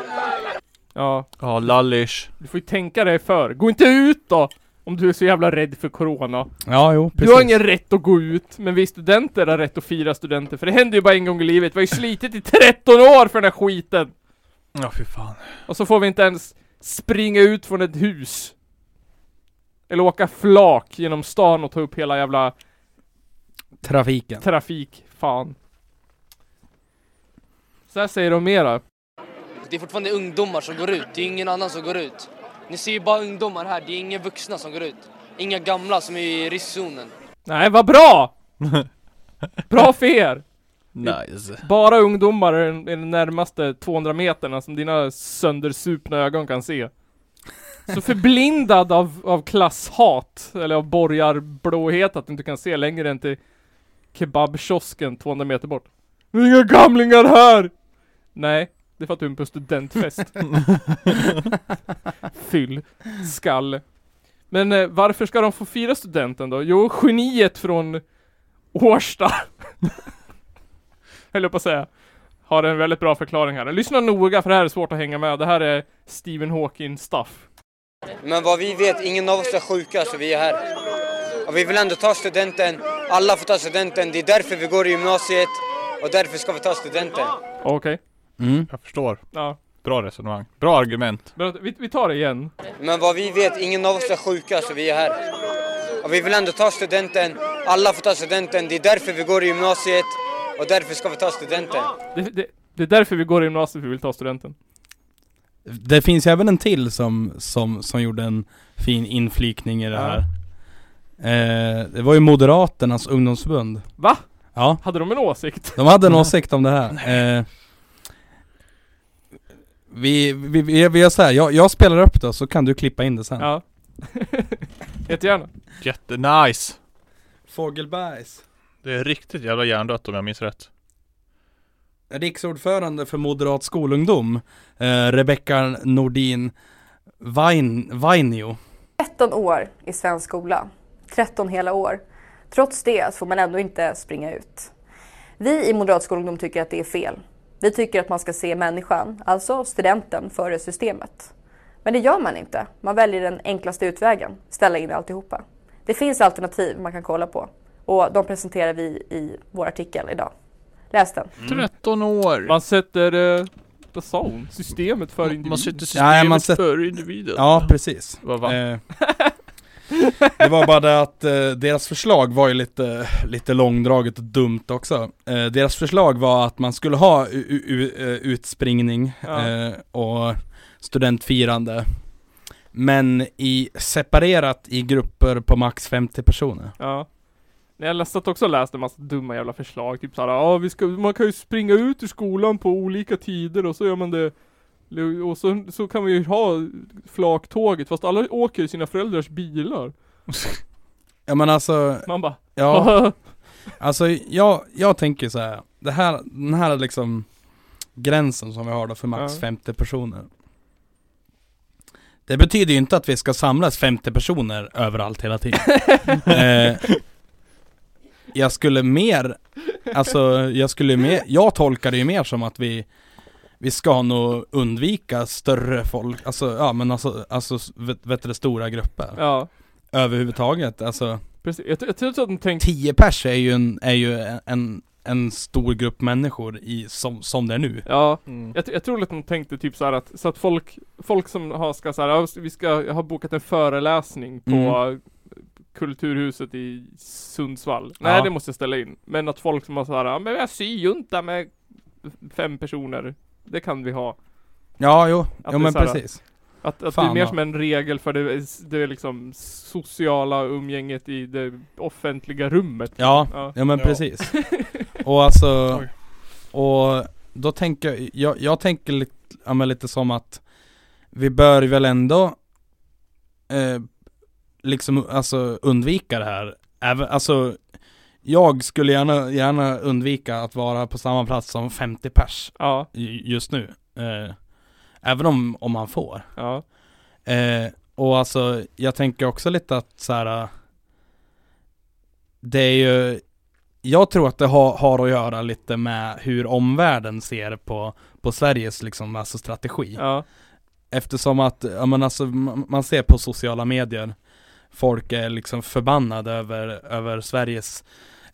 Speaker 3: Ja,
Speaker 2: Ja, lallish.
Speaker 3: du får ju tänka dig för. Gå inte ut då! Om du är så jävla rädd för corona.
Speaker 1: Ja, jo,
Speaker 3: Du har ingen rätt att gå ut, men vi studenter har rätt att fira studenter, för det händer ju bara en gång i livet. Vi har ju slitit i 13 år för den här skiten!
Speaker 2: Ja, fy fan.
Speaker 3: Och så får vi inte ens springa ut från ett hus. Eller åka flak genom stan och ta upp hela jävla
Speaker 1: Trafiken
Speaker 3: trafik. Fan. Så här säger de mera.
Speaker 7: Det är fortfarande ungdomar som går ut. Det är ingen annan som går ut. Ni ser ju bara ungdomar här. Det är inga vuxna som går ut. Inga gamla som är i riskzonen.
Speaker 3: Nej, vad bra! Bra för er!
Speaker 2: Nice.
Speaker 3: Bara ungdomar är den är den närmaste 200 meterna som dina söndersupna ögon kan se. Så förblindad av, av klasshat, eller av borgarblåhet, att du inte kan se längre än till kebabkiosken 200 meter bort. Det är inga gamlingar här! Nej, det är för att du är på en studentfest. Fyll. Skall. Men eh, varför ska de få fira studenten då? Jo, geniet från Årsta höll jag på att säga. Har en väldigt bra förklaring här. Lyssna noga för det här är svårt att hänga med. Det här är Stephen Hawking stuff.
Speaker 6: Men vad vi vet, ingen av oss är sjuka så vi är här. Och vi vill ändå ta studenten. Alla får ta studenten. Det är därför vi går i gymnasiet och därför ska vi ta studenten.
Speaker 3: Okej.
Speaker 1: Mm.
Speaker 2: Jag förstår.
Speaker 3: Ja.
Speaker 2: Bra resonemang. Bra argument.
Speaker 3: Men vi, vi tar det igen.
Speaker 6: Men vad vi vet, ingen av oss är sjuka så vi är här. Och vi vill ändå ta studenten. Alla får ta studenten. Det är därför vi går i gymnasiet och därför ska vi ta studenten.
Speaker 3: Det, det, det är därför vi går i gymnasiet, för vi vill ta studenten.
Speaker 1: Det finns ju även en till som, som, som gjorde en fin inflikning i det
Speaker 3: Ja.
Speaker 1: här. Eh, det var ju Moderaternas ungdomsförbund.
Speaker 3: Va?
Speaker 1: Ja,
Speaker 3: Hade de en åsikt?
Speaker 1: de hade en åsikt om det här. Eh, vi, vi, vi, vi gör så här. Jag, jag spelar upp det så kan du klippa in det sen.
Speaker 3: Ja. Jättegärna.
Speaker 2: Jättenice.
Speaker 1: Fågelbergs
Speaker 2: Det är riktigt jävla hjärndött om jag minns rätt.
Speaker 1: Riksordförande för Moderat skolungdom, eh, Rebecka Nordin Vain, Vainio.
Speaker 8: 13 år i svensk skola. 13 hela år. Trots det så får man ändå inte springa ut. Vi i Moderat skolungdom tycker att det är fel. Vi tycker att man ska se människan, alltså studenten, före systemet. Men det gör man inte. Man väljer den enklaste utvägen, ställa in alltihopa. Det finns alternativ man kan kolla på och de presenterar vi i vår artikel idag. Läs den.
Speaker 2: 13 år.
Speaker 3: Mm. Man sätter, eh, vad sa hon? Systemet för
Speaker 2: Man,
Speaker 3: individen.
Speaker 2: man sätter systemet
Speaker 1: Ja, man sätter-
Speaker 2: före individen.
Speaker 1: Ja, precis.
Speaker 2: Vad va?
Speaker 1: Eh, det var bara det att eh, deras förslag var ju lite, lite långdraget och dumt också. Eh, deras förslag var att man skulle ha u- u- u- eh, utspringning
Speaker 3: Ja.
Speaker 1: eh, och studentfirande. Men i separerat i grupper på max 50 personer.
Speaker 3: Ja. Nej, Jag läste att också läst en massa dumma jävla förslag, typ såhär, ja vi ska, man kan ju springa ut ur skolan på olika tider och så gör man det och så, så kan vi ju ha flaktåget, fast alla åker i sina föräldrars bilar.
Speaker 1: Ja men alltså,
Speaker 3: Man bara,
Speaker 1: ja,
Speaker 3: ja.
Speaker 1: alltså jag, jag tänker så här. Det här, den här liksom gränsen som vi har då för max
Speaker 3: Ja.
Speaker 1: 50 personer. Det betyder ju inte att vi ska samlas 50 personer överallt hela tiden. eh, jag skulle mer, alltså jag skulle mer, jag tolkar det ju mer som att vi vi ska nog undvika större folk, alltså ja men alltså, alltså vet, vet du, det, stora grupper
Speaker 3: ja.
Speaker 1: överhuvudtaget, alltså
Speaker 3: Precis, jag, jag tror att de tänkte,
Speaker 1: 10 pers är ju en, är ju en, en stor grupp människor i, som, som det är nu.
Speaker 3: ja.
Speaker 2: Mm.
Speaker 3: Jag, tr- jag tror att de tänkte typ så här att, så att folk, folk som har, ska så här, ja, vi ska, jag har bokat en föreläsning på
Speaker 1: Mm.
Speaker 3: Kulturhuset i Sundsvall. Nej
Speaker 1: Ja.
Speaker 3: det måste jag ställa in. Men att folk som har så här, ja, men vi har syjunta med fem personer. Det kan vi ha.
Speaker 1: Ja, jo,
Speaker 3: Att
Speaker 1: jo
Speaker 3: det är
Speaker 1: men
Speaker 3: så här-
Speaker 1: precis.
Speaker 3: Att, att det
Speaker 1: Fan,
Speaker 3: är mer
Speaker 1: ja.
Speaker 3: som en regel för det, det liksom sociala umgänget i det offentliga rummet.
Speaker 1: Ja,
Speaker 3: Ja.
Speaker 1: ja men
Speaker 2: Ja.
Speaker 1: precis. Och alltså,
Speaker 2: Oj.
Speaker 1: och då tänker jag, jag, jag tänker lite, ja, men lite som att vi bör väl ändå eh, liksom alltså undvika det här. Även, alltså, jag skulle gärna, gärna undvika att vara på samma plats som 50 pers
Speaker 3: Ja,
Speaker 1: ju- just nu. Eh, även om, om man får.
Speaker 3: ja.
Speaker 1: Eh, och alltså, jag tänker också lite att så här. eh, Det är ju, jag tror att det har, har att göra lite med hur omvärlden ser på, på Sveriges liksom, alltså strategi.
Speaker 3: ja.
Speaker 1: Eftersom att, ja men alltså, man, man ser på sociala medier, folk är liksom förbannade över, över Sveriges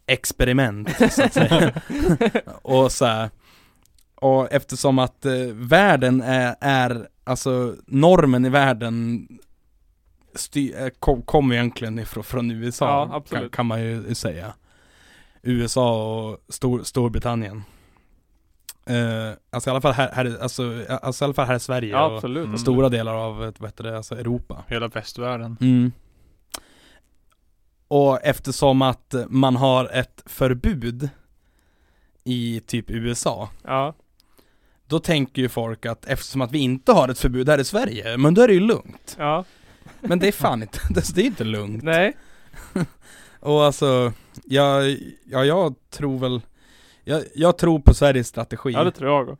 Speaker 1: experiment, så att säga. och så här, och eftersom att eh, världen är, är, alltså normen i världen sty- eh, kom, kom egentligen ifrån från USA,
Speaker 3: Ja, absolut.
Speaker 1: kan, kan man ju säga. USA och Stor, Storbritannien. Eh, alltså i alla fall här, här, alltså, alltså i alla fall här i Sverige
Speaker 3: Ja,
Speaker 1: och
Speaker 3: absolut.
Speaker 2: Mm.
Speaker 1: stora delar av ett bättre, alltså Europa.
Speaker 2: Hela västvärlden.
Speaker 1: Mm. Och eftersom att man har ett förbud i typ USA,
Speaker 3: Ja.
Speaker 1: då tänker ju folk att eftersom att vi inte har ett förbud här i Sverige, men då är det ju lugnt.
Speaker 3: Ja.
Speaker 1: Men det är fan inte, det är inte lugnt.
Speaker 3: Nej.
Speaker 1: Och alltså, jag, ja, jag tror väl, jag, jag tror på Sveriges strategi.
Speaker 3: Ja det tror jag.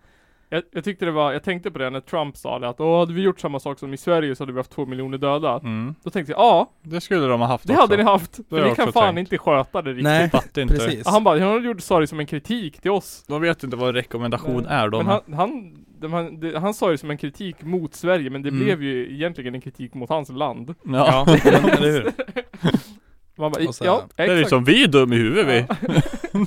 Speaker 3: jag Jag tyckte det var, jag tänkte på det när Trump sa det att Åh, hade vi gjort samma sak som i Sverige så hade vi haft två miljoner döda.
Speaker 2: Mm.
Speaker 3: Då tänkte jag, ja,
Speaker 2: Det skulle de ha haft
Speaker 3: det
Speaker 2: också.
Speaker 3: hade ni haft.
Speaker 2: har
Speaker 3: För ni
Speaker 2: jag
Speaker 3: kan
Speaker 2: också
Speaker 3: fan
Speaker 2: tänkt.
Speaker 3: inte sköta det riktigt.
Speaker 1: Nej,
Speaker 2: Fattar inte.
Speaker 1: precis.
Speaker 3: Och han bara, han gjorde, sa det som en kritik till oss.
Speaker 2: De vet inte vad en rekommendation är de.
Speaker 3: Men han, han, de, han, det, han sa det som en kritik mot Sverige, men det
Speaker 1: Mm.
Speaker 3: blev ju egentligen en kritik mot hans land.
Speaker 2: ja.
Speaker 1: men, eller hur?
Speaker 3: Man bara,
Speaker 1: Och så här,
Speaker 3: ja,
Speaker 2: Det är
Speaker 3: exakt.
Speaker 2: liksom, vi är dum i huvudet vi.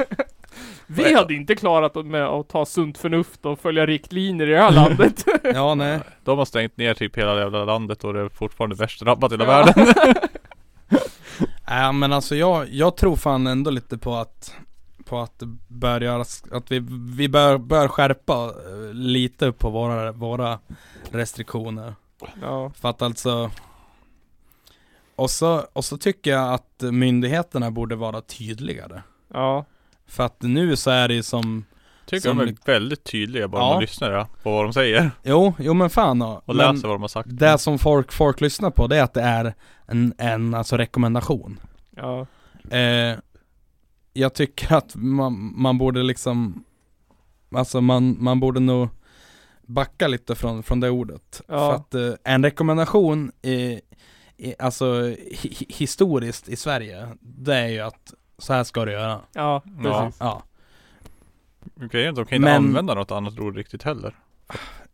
Speaker 3: Vi hade inte klarat att- med att ta sunt förnuft och följa riktlinjer i det här landet.
Speaker 1: Ja, nej.
Speaker 2: De har stängt ner typ hela jävla landet och det är fortfarande värst drabbat i hela
Speaker 3: Ja.
Speaker 2: världen.
Speaker 1: Nej men alltså jag, jag tror fan ändå lite på att på att det bör göras, att vi, vi bör, bör skärpa eh, lite på våra, våra restriktioner.
Speaker 3: ja.
Speaker 1: För att alltså och så, och så tycker jag att myndigheterna borde vara tydligare.
Speaker 3: Ja.
Speaker 1: För att nu så är det ju som,
Speaker 2: Tycker
Speaker 1: Som-
Speaker 2: de är väldigt tydliga bara
Speaker 1: Ja.
Speaker 2: man lyssnar ja, på vad de säger.
Speaker 1: jo, jo men fan ja.
Speaker 2: Och
Speaker 1: men
Speaker 2: läser vad de har sagt.
Speaker 1: Det som folk, folk lyssnar på det är att det är en, en alltså rekommendation.
Speaker 3: Ja.
Speaker 1: Eh, jag tycker att man, man borde liksom Alltså man, man borde nog backa lite från, från det ordet.
Speaker 3: Ja.
Speaker 1: För att eh, en rekommendation i, i, alltså hi, hi- historiskt i Sverige, det är ju att så här ska du göra.
Speaker 3: Ja.
Speaker 2: Ja.
Speaker 3: Precis.
Speaker 1: Ja,
Speaker 2: Grejen är att de kan inte
Speaker 1: Men-
Speaker 2: använda något annat ord riktigt heller.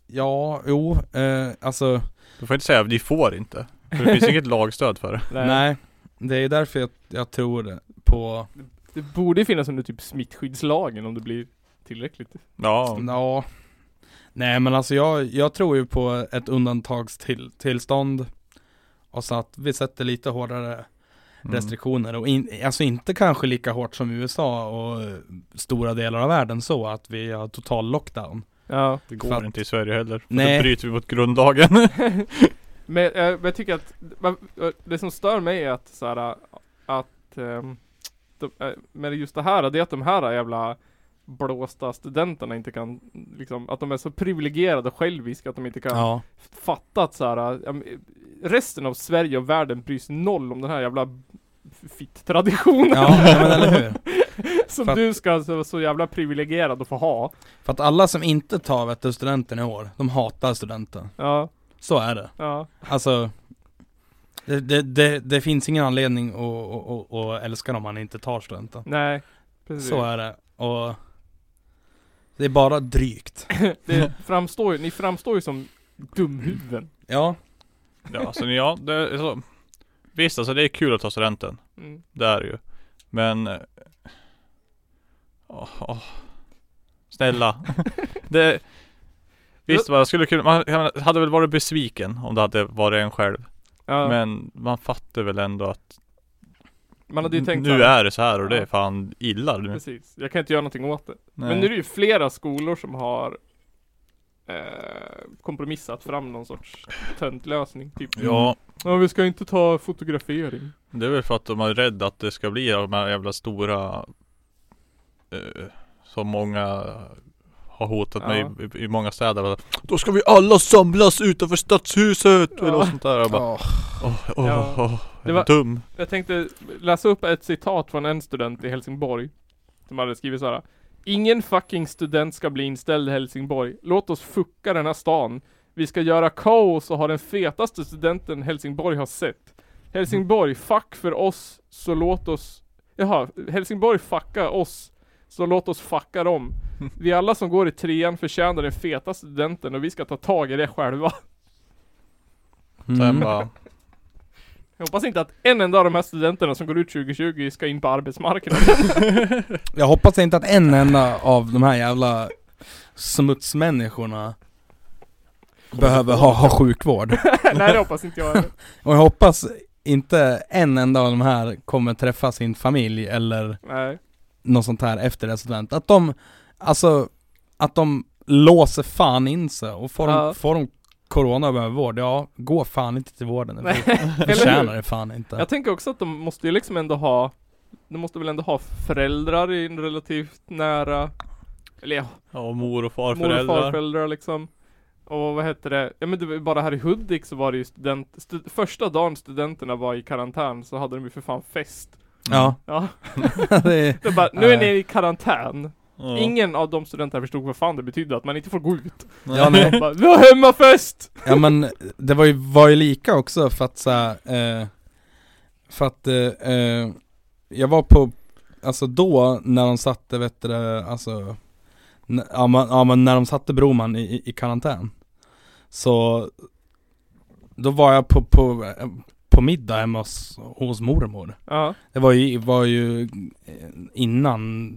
Speaker 1: ja jo, eh, alltså
Speaker 2: Du får inte säga, ni får inte. För det finns inget lagstöd för det.
Speaker 1: nej. Det är ju därför jag, jag tror på,
Speaker 3: Det borde ju finnas under typ smittskyddslagen om det blir tillräckligt.
Speaker 2: Ja,
Speaker 1: ja Nej men alltså jag, jag tror ju på ett undantagstillstånd Och så att vi sätter lite hårdare
Speaker 2: mm.
Speaker 1: restriktioner och in, alltså inte kanske lika hårt som USA och eh, stora delar av världen så att vi har total lockdown.
Speaker 3: Ja.
Speaker 2: det
Speaker 1: för
Speaker 2: går
Speaker 1: att-
Speaker 2: inte i Sverige heller. För
Speaker 1: Nej.
Speaker 2: då bryter vi mot grundlagen.
Speaker 3: Men, eh, men jag tycker att man- eh, det som stör mig är att så här, att ehm, de, eh, men just det här, det är att de här jävla blåsta studenterna inte kan liksom, att de är så privilegierade och själviska att de inte kan
Speaker 1: Ja,
Speaker 3: fatta att så här, ja, men, eh, resten av Sverige och världen bryr sig noll om den här jävla f- fitt-traditionen
Speaker 1: ja, ja men eller hur.
Speaker 3: som
Speaker 1: för att-
Speaker 3: du ska så, så jävla privilegierad att få ha.
Speaker 1: För att alla som inte tar vet du, studenten i år, de hatar studenten.
Speaker 3: Ja,
Speaker 1: Så är det.
Speaker 3: ja,
Speaker 1: Alltså det, det, det, det finns ingen anledning att, att, att, att älska dem om man inte tar studenten.
Speaker 3: nej. Precis.
Speaker 1: Så är det. Och det är bara drygt.
Speaker 3: Det framstår ju, ni framstår ju som dumhuvuden.
Speaker 1: Ja,
Speaker 2: Ja, så ja, det är så. Visst alltså det är kul att ta studenten.
Speaker 3: Mm.
Speaker 2: Det är det ju. Men... eh, åh, åh. Snälla. det... Visst man skulle kunna, man man hade väl varit besviken om det hade varit en själv.
Speaker 3: Ja.
Speaker 2: Men man fattar väl ändå att
Speaker 3: Man hade ju tänkt
Speaker 2: nu
Speaker 3: så här,
Speaker 2: är det så här och det
Speaker 3: Ja.
Speaker 2: är fan illa nu.
Speaker 3: Precis, jag kan inte göra någonting åt det.
Speaker 2: Nej.
Speaker 3: Men nu är det ju flera skolor som har eh, kompromissat fram någon sorts töntlösning. Typ,
Speaker 2: Ja,
Speaker 3: ja vi ska inte ta fotografering.
Speaker 2: det är väl för att de är rädda att det ska bli de här jävla stora eh, Som många har hotat
Speaker 3: Ja.
Speaker 2: med i, i många städer Då ska vi alla samlas utanför stadshuset! Eller något sånt där Jag bara,
Speaker 1: Ja.
Speaker 2: Åh, åh,
Speaker 3: Ja.
Speaker 2: åh,
Speaker 3: Det
Speaker 2: är
Speaker 3: var-
Speaker 2: var... dum.
Speaker 3: Jag tänkte läsa upp ett citat från en student i Helsingborg. Som hade skrivit så här. Ingen fucking student ska bli inställd i Helsingborg. Låt oss fucka den här stan. Vi ska göra kaos och ha den fetaste studenten Helsingborg har sett. Helsingborg, fuck för oss, så låt oss... Jaha, Helsingborg fucka oss, så låt oss fucka dem. Vi alla som går i trean förtjänar den feta studenten och vi ska ta tag i det själva.
Speaker 2: Sen
Speaker 1: Mm.
Speaker 2: bara,
Speaker 3: Jag hoppas inte att en enda av de här studenterna som går ut 2020 ska in på arbetsmarknaden.
Speaker 1: Jag hoppas inte att en enda av de här jävla smutsmänniskorna behöver ha, ha sjukvård.
Speaker 3: Nej det hoppas inte jag heller.
Speaker 1: Och jag hoppas inte en enda av de här kommer träffa sin familj eller
Speaker 3: Nej.
Speaker 1: något sånt här efter det student. Att de, alltså, att de låser fan in sig och får,
Speaker 3: Ja.
Speaker 1: de, får de corona och behöver vård, ja gå fan inte till vården. Det
Speaker 3: Nej,
Speaker 1: för-
Speaker 3: eller
Speaker 1: förtjänar
Speaker 3: hur?
Speaker 1: det fan inte.
Speaker 3: Jag tänker också att de måste ju liksom ändå ha De måste väl ändå ha föräldrar i en relativt nära Eller ja,
Speaker 2: Ja, och mor och
Speaker 3: mor och
Speaker 2: farföräldrar.
Speaker 3: farföräldrar liksom Och vad hette det? Ja men det var ju bara här i Hudik så var det ju student stu, Första dagen studenterna var i karantän så hade de ju för fan fest
Speaker 2: Mm.
Speaker 1: Ja,
Speaker 3: Ja,
Speaker 1: det är,
Speaker 3: det bara, nu är ni
Speaker 1: Nej.
Speaker 3: i karantän
Speaker 2: Ja.
Speaker 3: Ingen av de studenterna förstod vad fan det betydde att man inte får gå ut
Speaker 1: ja, nej.
Speaker 3: bara, Vi har hemmafest!
Speaker 1: ja men det var ju, var ju lika också för att så här, eh, För att eh, eh, jag var på, alltså då när de satte vet du, det, alltså n- ja men, ja men när de satte Broman i- i, i karantän Så Då var jag på, på, på middag hemma hos, hos mormor
Speaker 3: Ja,
Speaker 1: Det var ju, var ju eh, innan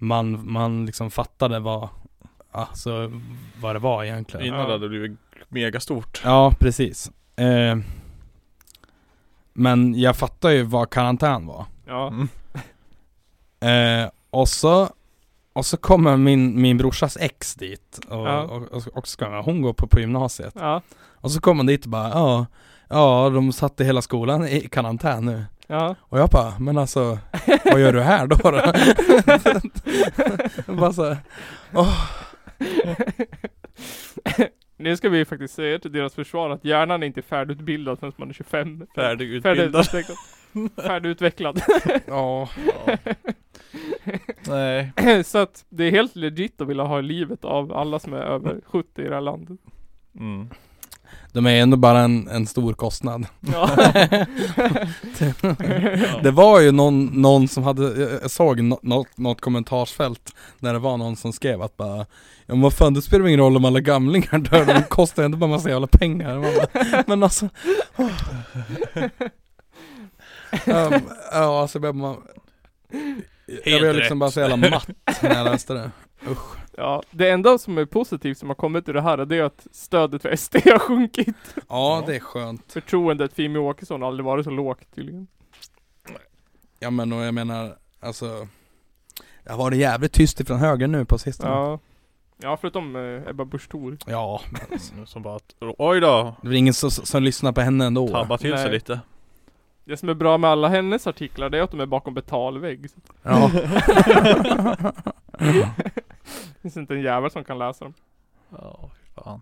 Speaker 1: man, man liksom fattade vad Alltså vad det var egentligen
Speaker 2: Innan det hade det blivit megastort.
Speaker 1: Ja, precis. Eh, men jag fattar ju vad karantän var.
Speaker 3: ja,
Speaker 2: Mm.
Speaker 1: Eh, och så och så kommer min, min brorsas ex dit och,
Speaker 3: Ja.
Speaker 1: och, och, och ska, hon går på, på gymnasiet.
Speaker 3: ja,
Speaker 1: Och så kommer hon dit och bara ja, ja de satte hela skolan i karantän nu.
Speaker 3: ja
Speaker 1: Och jag bara, men alltså vad gör du här då? då? bara så här,
Speaker 3: Nu ska vi faktiskt säga till deras försvar att hjärnan är inte färdigutbildad förrän man är 25
Speaker 2: Färdigutbildad.
Speaker 3: Färdigutvecklad Färdigutvecklad
Speaker 1: ja.
Speaker 2: Nej.
Speaker 3: Så att det är helt legit att vilja ha livet av alla som är över 70 i det här landet
Speaker 2: Mm.
Speaker 1: De är ändå bara en, en stor kostnad.
Speaker 3: Ja
Speaker 1: Det var ju någon, någon som hade, jag- jag såg nå- något, något kommentarsfält när det var någon som skrev att bara Ja men vad fan det spelar ingen roll om alla gamlingar dör, de kostar ju ändå bara massa jävla pengar Man bara, Men alltså åh. Ehm, Ja alltså jag blev man Jag
Speaker 2: Helt
Speaker 1: blev liksom
Speaker 2: rätt.
Speaker 1: bara så jävla matt när jag läste det
Speaker 3: Ja, det enda som är positivt som har kommit ur det här det är att stödet för SD har sjunkit.
Speaker 1: Ja det är skönt
Speaker 3: Förtroendet för Jimmie Åkesson har aldrig varit så lågt tydligen.
Speaker 1: Ja men och jag menar alltså Jag har varit jävligt tyst ifrån höger nu på sistone Ja,
Speaker 3: Ja. Ja, förutom eh, Ebba Busch Thor.
Speaker 1: ja
Speaker 2: Som bara att, oj då.
Speaker 1: det är ingen som, som lyssnar på henne ändå
Speaker 2: Tabba till sig
Speaker 3: Nej.
Speaker 2: lite.
Speaker 3: Det som är bra med alla hennes artiklar det är att de är bakom betalvägg. Så
Speaker 1: Ja
Speaker 3: det finns inte en jävel som kan läsa dem.
Speaker 2: Ja, fy fan.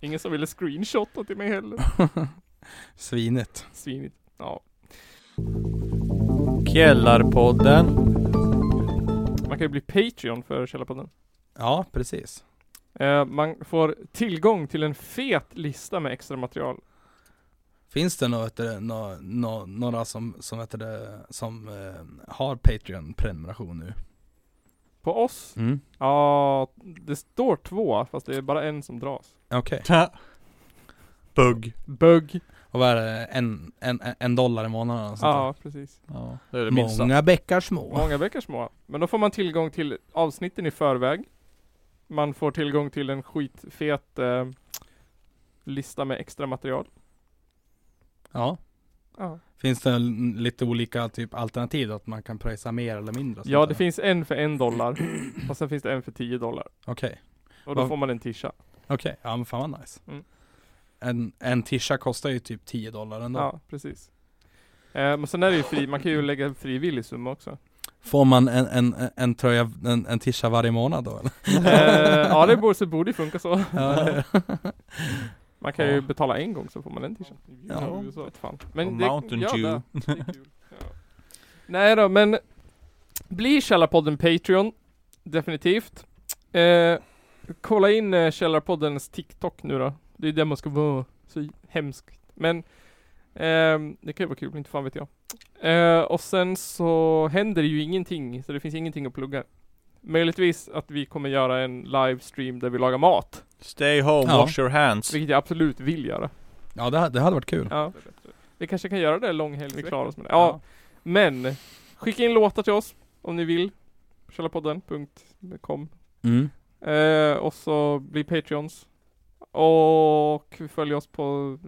Speaker 3: Ingen som ville screenshotta till mig heller.
Speaker 1: Svinigt.
Speaker 3: Svinigt. Ja.
Speaker 2: Källarpodden.
Speaker 3: Man kan ju bli Patreon för Källarpodden.
Speaker 1: Ja, precis.
Speaker 3: Eh, man får tillgång till en fet lista med extra material.
Speaker 1: Finns det något, nå, nå, några som, som, heter det, som eh, har Patreon-prenumeration nu?
Speaker 3: På oss?
Speaker 1: Mm.
Speaker 3: Ja, det står två fast det är bara en som dras.
Speaker 1: Okej.
Speaker 2: Bugg.
Speaker 3: Bugg.
Speaker 1: Och vad är det, en, en, en dollar i månaden? och sånt där?
Speaker 3: Ja, precis.
Speaker 2: Ja, det är det minsta.
Speaker 1: Många bäckar små.
Speaker 3: Många veckor små. Men då får man tillgång till avsnitten i förväg. Man får tillgång till en skitfet eh, lista med extra material.
Speaker 1: Ja.
Speaker 3: Ja,
Speaker 1: Finns det l- lite olika typ alternativ då, att man kan pröjsa mer eller mindre? och sånt
Speaker 3: ja
Speaker 1: där?
Speaker 3: det finns en för en dollar och sen finns det en för tio dollar.
Speaker 1: Okej,
Speaker 3: Och då
Speaker 1: Vad-
Speaker 3: får man en tisha.
Speaker 1: okej. Ja men fan vad nice.
Speaker 3: Mm.
Speaker 1: En, en tisha kostar ju typ 10 dollar ändå.
Speaker 3: Ja, precis. Eh, men sen är det ju fri, man kan ju lägga en frivillig summa också.
Speaker 1: Får man en, en, en, en tröja, en, en tisha varje månad då eller?
Speaker 3: Eh, ja, det borde, så borde ju funka så.
Speaker 1: Ja.
Speaker 3: Man kan
Speaker 2: Ja.
Speaker 3: ju betala en gång så får man en t-shirt.
Speaker 1: Ja.
Speaker 3: Så att fan.
Speaker 2: Och Mountain Dew.
Speaker 3: det- det är kul. Ja. Nej då, men bli Källarpodden Patreon. Definitivt. Eh, kolla in eh, Källarpoddens TikTok nu då. Det är där man ska vara. Så hemskt. Men ehm, det kan ju vara kul, inte fan vet jag. Eh, och sen så händer det ju ingenting, så det finns ingenting att plugga. Möjligtvis att vi kommer göra en livestream där vi lagar mat.
Speaker 2: Stay home,
Speaker 1: Ja.
Speaker 2: wash your hands.
Speaker 3: Vilket jag absolut vill göra.
Speaker 1: ja det, det hade varit kul.
Speaker 3: Ja. Vi kanske kan göra det långhelg, vi klarar oss med det. Ja, men skicka in låtar till oss om ni vill. Källarpodden.com
Speaker 1: Mm.
Speaker 3: eh, Och så bli Patreons. Och följ oss på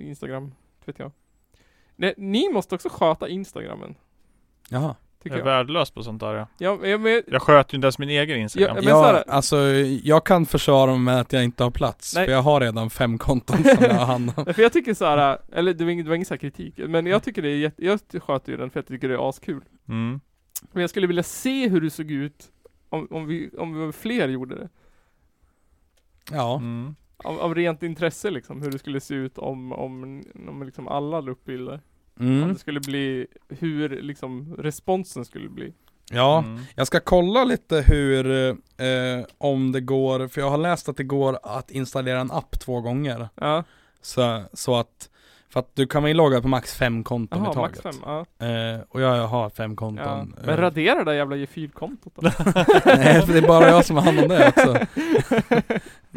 Speaker 3: Instagram, vet jag. Nej, ni måste också sköta Instagrammen.
Speaker 1: Jaha.
Speaker 2: Jag
Speaker 3: tycker
Speaker 2: är
Speaker 3: jag.
Speaker 2: värdelös på sånt där ja.
Speaker 3: Ja, men- men,
Speaker 2: Jag sköt ju inte ens min egen Instagram.
Speaker 3: Ja, men så
Speaker 1: jag,
Speaker 3: här-
Speaker 1: alltså, jag kan försvara mig med att jag inte har plats,
Speaker 3: Nej.
Speaker 1: för jag har redan fem konton som jag har hand om.
Speaker 3: Nej, För jag tycker så här, eller det var ingen, det var ingen så här kritik, men jag tycker det är jätte, jag sköter ju den för jag tycker det är askul.
Speaker 2: Mm.
Speaker 3: Men jag skulle vilja se hur det såg ut om, om, vi, om vi fler gjorde det.
Speaker 1: Ja,
Speaker 2: Mm.
Speaker 3: Av, av rent intresse liksom, hur det skulle se ut om, om, om liksom alla la upp bilder. Om
Speaker 1: mm.
Speaker 3: det skulle bli, hur liksom responsen skulle bli.
Speaker 1: ja.
Speaker 2: Mm.
Speaker 1: Jag ska kolla lite hur, eh, om det går, för jag har läst att det går att installera en app två gånger.
Speaker 3: Ja,
Speaker 1: Så, så att, för att du kan väl logga på max fem konton i
Speaker 3: jaha,
Speaker 1: taget.
Speaker 3: max fem. Ja.
Speaker 1: Eh, och jag har fem
Speaker 3: Ja.
Speaker 1: konton.
Speaker 3: Men
Speaker 1: Eh,
Speaker 3: radera det där jävla G4-kontot då.
Speaker 1: Nej, för det är bara jag som har hand om det också.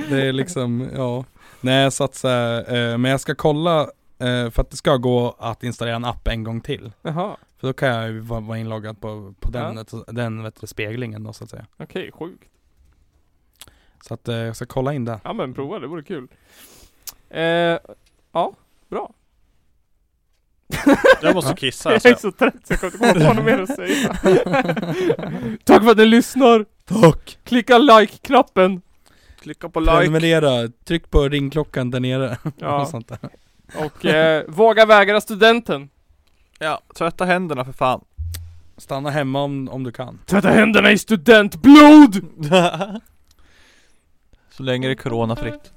Speaker 1: Det är liksom, ja. Nej, så att så här, eh, men jag ska kolla, eh, för att det ska gå att installera en app en gång till.
Speaker 3: Jaha,
Speaker 1: För då kan jag ju vara vara inloggad på, på den,
Speaker 3: Ja.
Speaker 1: ett- den vet du, speglingen då så att säga.
Speaker 3: okej, sjukt.
Speaker 1: Så att eh, jag ska kolla in det.
Speaker 3: Ja men prova, det vore kul. Eh, ja, bra.
Speaker 2: Jag måste kissa
Speaker 3: Jag
Speaker 2: alltså.
Speaker 3: är så trött så jag kommer inte komma på något mer att säga. Tack för att ni lyssnar!
Speaker 1: Tack!
Speaker 3: Klicka like-knappen!
Speaker 2: Klicka på
Speaker 1: Prenumerera, tryck på ringklockan där nere.
Speaker 3: Ja.
Speaker 1: och sånt där.
Speaker 3: Och eh, våga vägra studenten!
Speaker 2: Ja, tvätta händerna för fan.
Speaker 1: Stanna hemma om, om du kan.
Speaker 3: Tvätta händerna i studentblod!
Speaker 2: Så länge det är coronafritt.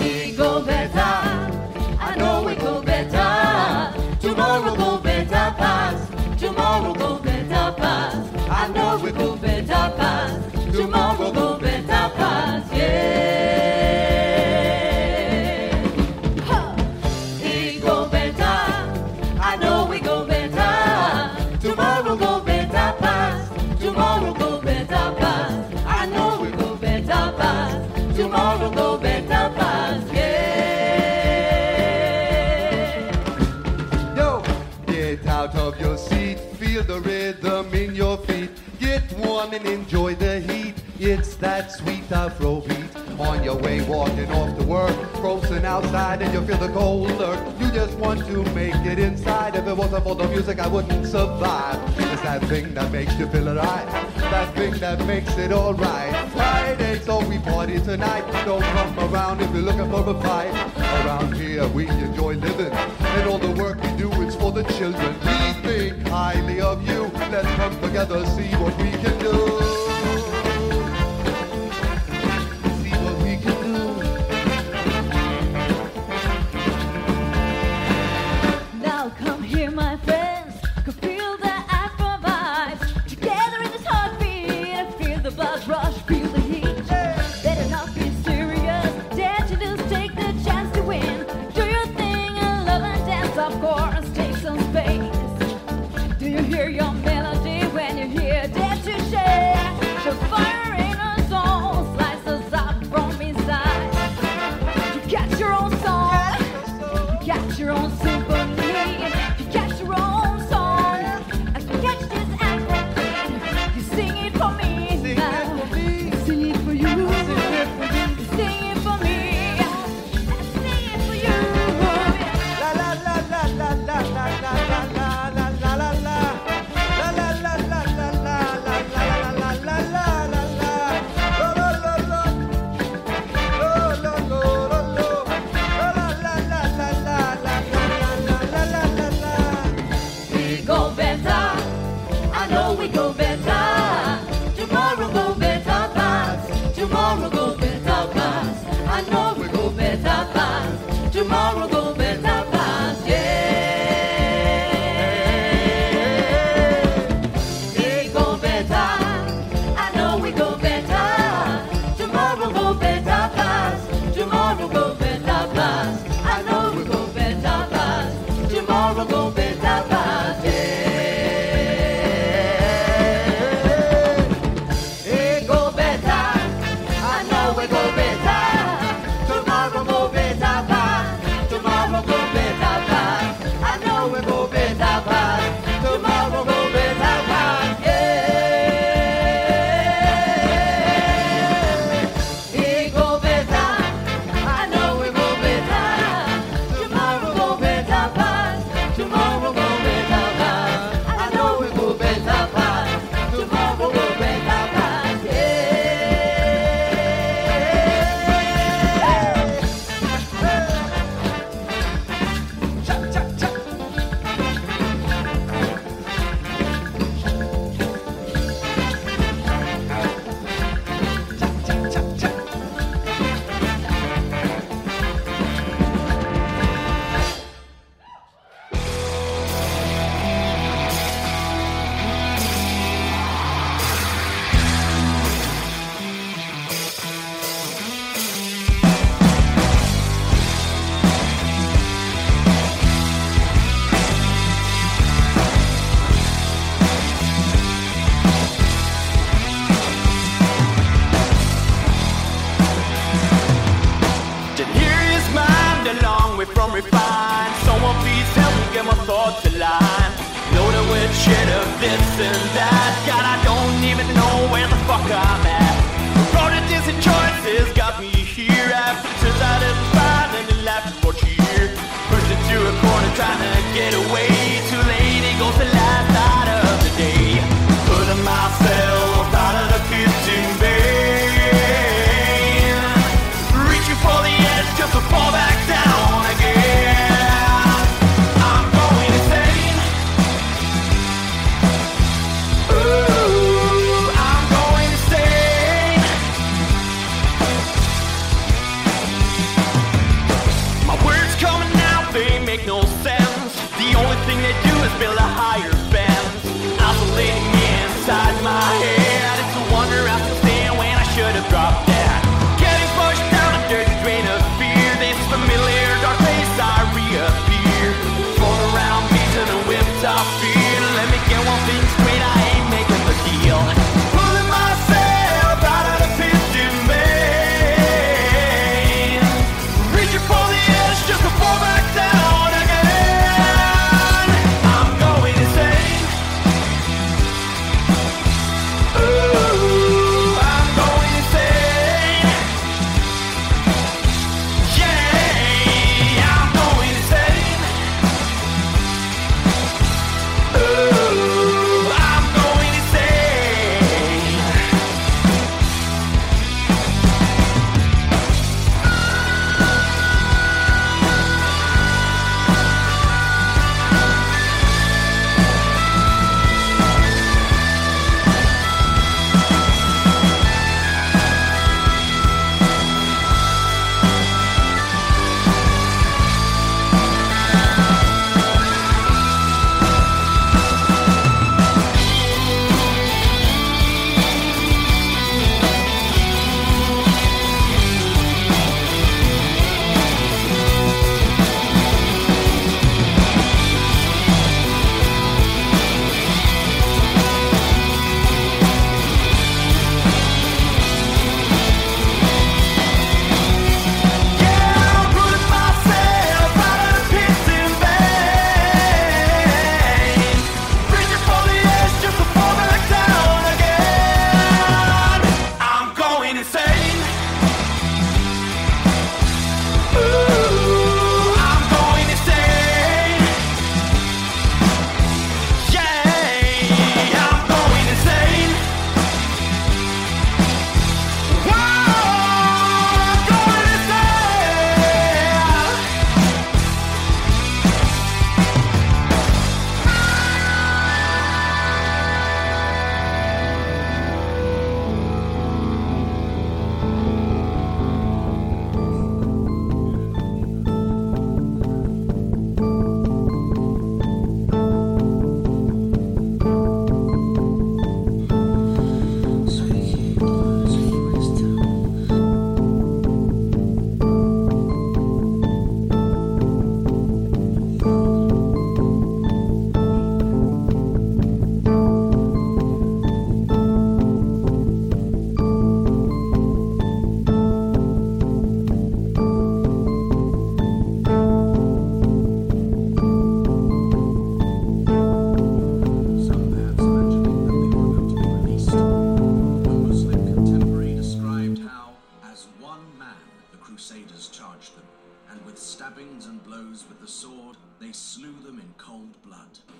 Speaker 4: We go better. I know we go better. Tomorrow go better past. Tomorrow go better past. I know we go better past. Tomorrow go better past. Yeah. Ha! We go better. I know we go better. Tomorrow go better past. Tomorrow go better past. I know we go better past. Tomorrow go better past. Yeah.
Speaker 5: Yo, get out of your seat, feel the rhythm in your feet. Get warm and enjoy the heat. It's that sweet Afrobeat. On your way, walking off to work, frozen outside, and you feel the cold lurk. You just want to make it inside. If it wasn't for the music, I wouldn't survive. It's
Speaker 9: that thing that makes you feel alright, that thing that makes it alright. Friday, so we party tonight. Don't come around if you're looking for a fight. Around here, we enjoy living, and all the work we do is for the children. We think highly of you. Let's come together, see what we can do. See what we can do.
Speaker 4: Now come here, my friends. Can feel the I provide. Together in this heartbeat, I feel the blood rush, feel the heat. Better not be serious. Dare to lose, take the chance to win. Do your thing and love and dance, of course. Take some space. Do you hear your melody when you hear? Dare to share. The fire in our souls slices up from inside. You catch your own soul. You got your own symphony. You got your own song. I can catch this act. You sing it for me. Sing it for me. Sing it for you. Sing it for me. I sing it for you. We go better. I know we go better. Tomorrow go better pass. Tomorrow go better pass. I know we go better pass. Tomorrow go better pass. Yeah. We go better. I know we go better. Tomorrow go better pass. Tomorrow go better pass. I know we go better pass. Tomorrow go better pass. Yeah. We go better. I know we go better. Tomorrow go better pass. Tomorrow go better pass. I know we go better pass. Tomorrow go better pass. Yeah. We go better. I know we go better. Tomorrow go better pass. Tomorrow go better pass. I know we go better pass. Tomorrow go better pass. Yeah. Cha cha cha. Cha cha cha.
Speaker 5: And here is mine, the long way from refined. Someone please help me get my thoughts aligned. Loaded with shit of this and that. God, I don't even know where the fuck I'm at. Road of distant choices got me here. After turns out it was fine and it lasted for a year. Pushed into a corner trying to get away. Too late, it goes the last night of the day. Putting myself out of the kitchen bay. Reaching for the edge just to fall back down again. I'm going insane. Ooh, I'm going insane. My words coming out, they make no sense. The only thing they do is build a higher fence. Isolating me inside my head. It's a wonder I still stand when I should have dropped that. Getting pushed down a dirty drain of fear. This familiar dark place, I reappear. Thrown around me to the whipped top fear. Let me get one thing straight, I ain't making the deal. Pulling myself out of the pit in vain. Reaching for the edge just to fall back down again. I'm going insane. Ooh,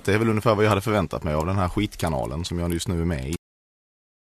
Speaker 9: det är väl ungefär vad jag hade förväntat mig av den här skitkanalen som jag just nu är med i.